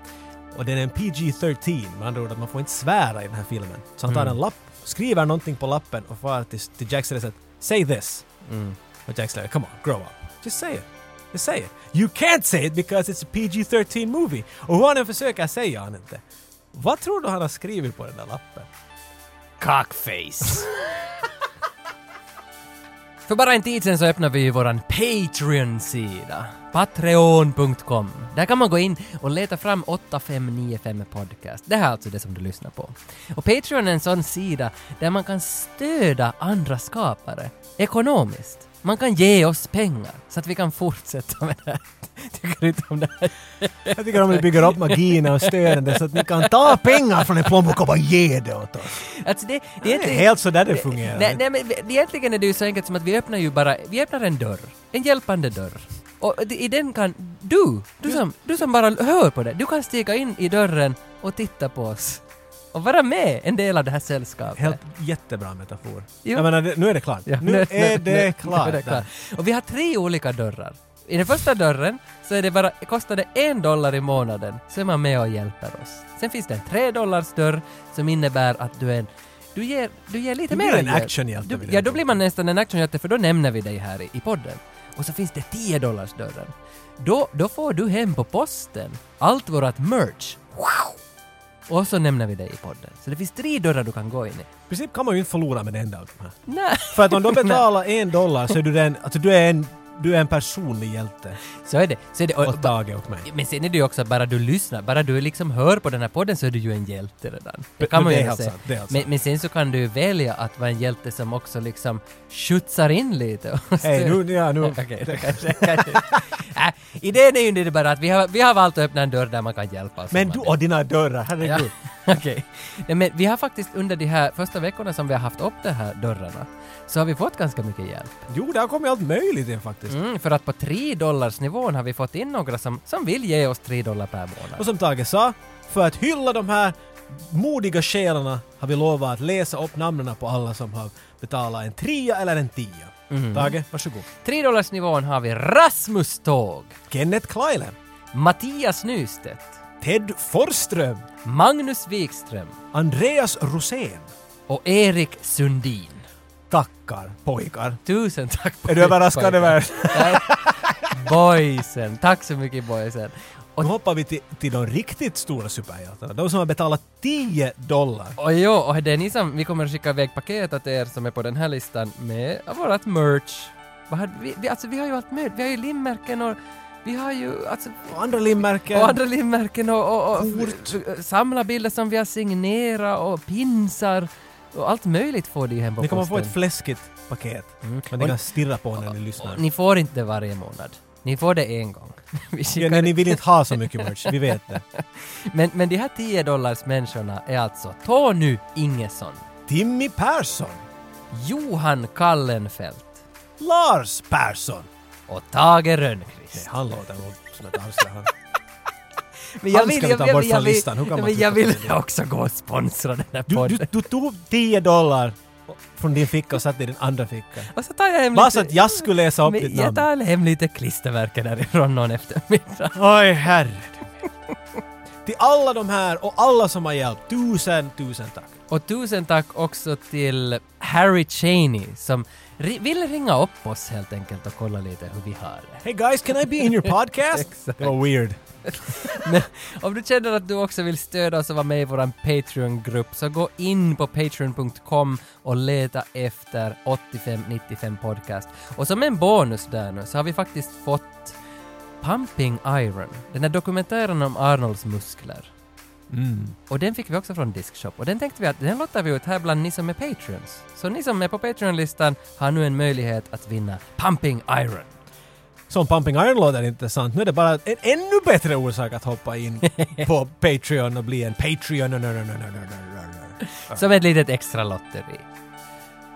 Och den är en PG-13, med andra ord att man får inte svära i den här filmen. Så han tar en lapp, skriver någonting på lappen och far till, till Jack Slater och säger “Say this”. Och Jack Slater, “Come on, grow up. Just say it. Just say it. You can't say it because it's a PG-13 movie.” Och hur han än försöker säger han inte. Vad tror du han har skrivit på den där lappen? Cockface. För bara en tid sedan så öppnade vi ju våran Patreon-sida. Patreon.com. Där kan man gå in och leta fram 8595 podcast. Det här är alltså det som du lyssnar på. Och Patreon är en sån sida där man kan stödja andra skapare ekonomiskt. Man kan ge oss pengar så att vi kan fortsätta med det här. *laughs* Tycker du inte om det här? Jag tycker om ni bygger upp magin och stöden så att ni kan ta pengar från en plånbok och bara ge det åt oss. Alltså det, det Det inte- är helt så där det fungerar. Nej, nej men vi- egentligen är det ju så enkelt som att vi öppnar ju bara, vi öppnar en dörr. En hjälpande dörr. Och det- i den kan du, du som, du som bara hör på det, du kan stiga in i dörren och titta på oss. Och vara med en del av det här sällskapet. Helt jättebra metafor. Jo. Jag menar, det- nu är det klart. Ja, *laughs* nu, är det klart. nu är det klart. Och vi har tre olika dörrar. I den första dörren så är det bara, kostar det en dollar i månaden så är man med och hjälper oss. Sen finns det en tre dollars dörr som innebär att du är en du ger, du ger lite Du mer blir en hjälp. actionhjälte Du- vid den Ja, då blir man nästan en actionhjälte för då nämner vi dig här i, i podden. Och så finns det 10 dollars dörren. Då, då får du hem på posten allt vårt merch. Wow! Och så nämner vi dig i podden. Så det finns tre dörrar du kan gå in i. I princip kan man ju inte förlora med en enda av de här. Nej. För att om du betalar en dollar så är du den, alltså du är en, du är en personlig hjälte Så är det. Så är det och, åt Tage och mig. Men sen är det ju också att bara du lyssnar, bara du liksom hör på den här podden så är du ju en hjälte redan. Det men kan man ju det är helt ändå säga. sant, det är helt men, sant. men sen så kan du ju välja att vara en hjälte som också liksom skjutsar in lite. *laughs* och Hej, stöd- nu, ja, nu. *laughs* Okej, det kanske- kanske- Nej, idén är ju inte bara att vi har, vi har valt att öppna en dörr där man kan hjälpa oss. om Men man du vill. och dina dörrar, herregud. *laughs* Okej. Nej, men vi har faktiskt under de här första veckorna som vi har haft upp de här dörrarna så har vi fått ganska mycket hjälp. Jo, där kommer allt möjligt in faktiskt. Mm, för att på 3 dollars nivån har vi fått in några som, som vill ge oss 3 dollar per månad. Och som Tage sa, för att hylla de här modiga själarna har vi lovat att läsa upp namnen på alla som har betalat en trea eller en tia. Mhm. Tage, varsågod. 3 dollars nivån har vi Rasmus Tåg, Kenneth Kleile, Mattias Nystedt, Ted Forsström, Magnus Wikström Andreas Rosén. och Erik Sundin. Tackar pojkar. Tusen tack! Är du överraskad över? Nej. *laughs* Boysen, tack så mycket boysen. Och, Nu hoppar vi till, till de riktigt stora superhjältarna. De som har betalat 10 dollar. och jo, och det är ni som, vi kommer att skicka iväg paket åt er som är på den här listan med vårat merch. Vad hade vi, vi, alltså vi har ju allt möjligt, vi har ju limmärken och vi har ju alltså Och andra limmärken. Och andra limmärken och, och, och samla bilder som vi har signerat och pinsar och allt möjligt får de ju hem på Ni kommer få posten. ett fläskigt paket. Men Mm. ni Och- kan stirra på när ni lyssnar. Ni får inte det varje månad. Ni får det en gång. *laughs* Vi Ja, skickar- nej, ni vill inte ha så mycket merch, vi vet det. men, men de här 10 dollars människorna är alltså Tony Ingesson, Timmy Persson, Johan Kallenfelt Lars Persson. och Tage Nej, Rönnqvist. han låter nog som ett arsle han. Men han ska vi ta bort från listan. Hur kan man men tycka jag att vill det är- också gå och sponsra den här Du, podden. du, du tog 10 dollar från din ficka och satte i din andra ficka. *laughs* Och så tar jag hem Bara lite- så att jag skulle läsa upp Men ditt Jag namn. tar hem lite klistermärken därifrån någon eftermiddag. Oj, herre. Till alla de här och alla som har hjälpt, tusen, tusen tack. Och tusen tack också till Harry Cheney som ri- vill ringa upp oss helt enkelt och kolla lite hur vi har det. Hey guys, can I be *laughs* in your podcast? Exakt. det var weird. Men om du känner att du också vill stödja oss och vara med i vår Patreon-grupp så gå in på patreon.com och leta efter 8595 podcast. Och som en bonus där nu så har vi faktiskt fått Pumping Iron, den här dokumentären om Arnolds muskler. Och den fick vi också från Diskshop och den tänkte vi att den lottar vi ut här bland ni som är Patreons. Så ni som är på Patreon-listan har nu en möjlighet att vinna Pumping Iron. Som Pumping Iron låter intressant. Nu är det bara en ännu bättre orsak att hoppa in på Patreon och bli en Patreon. No, no, no, no, no, no, no. Som ett litet extra lotteri.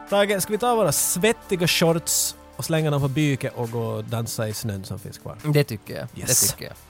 Tage, ska vi ta våra svettiga shorts och slänga dem på byket och gå och dansa i snön som finns kvar? Det tycker jag. Yes. Det tycker jag.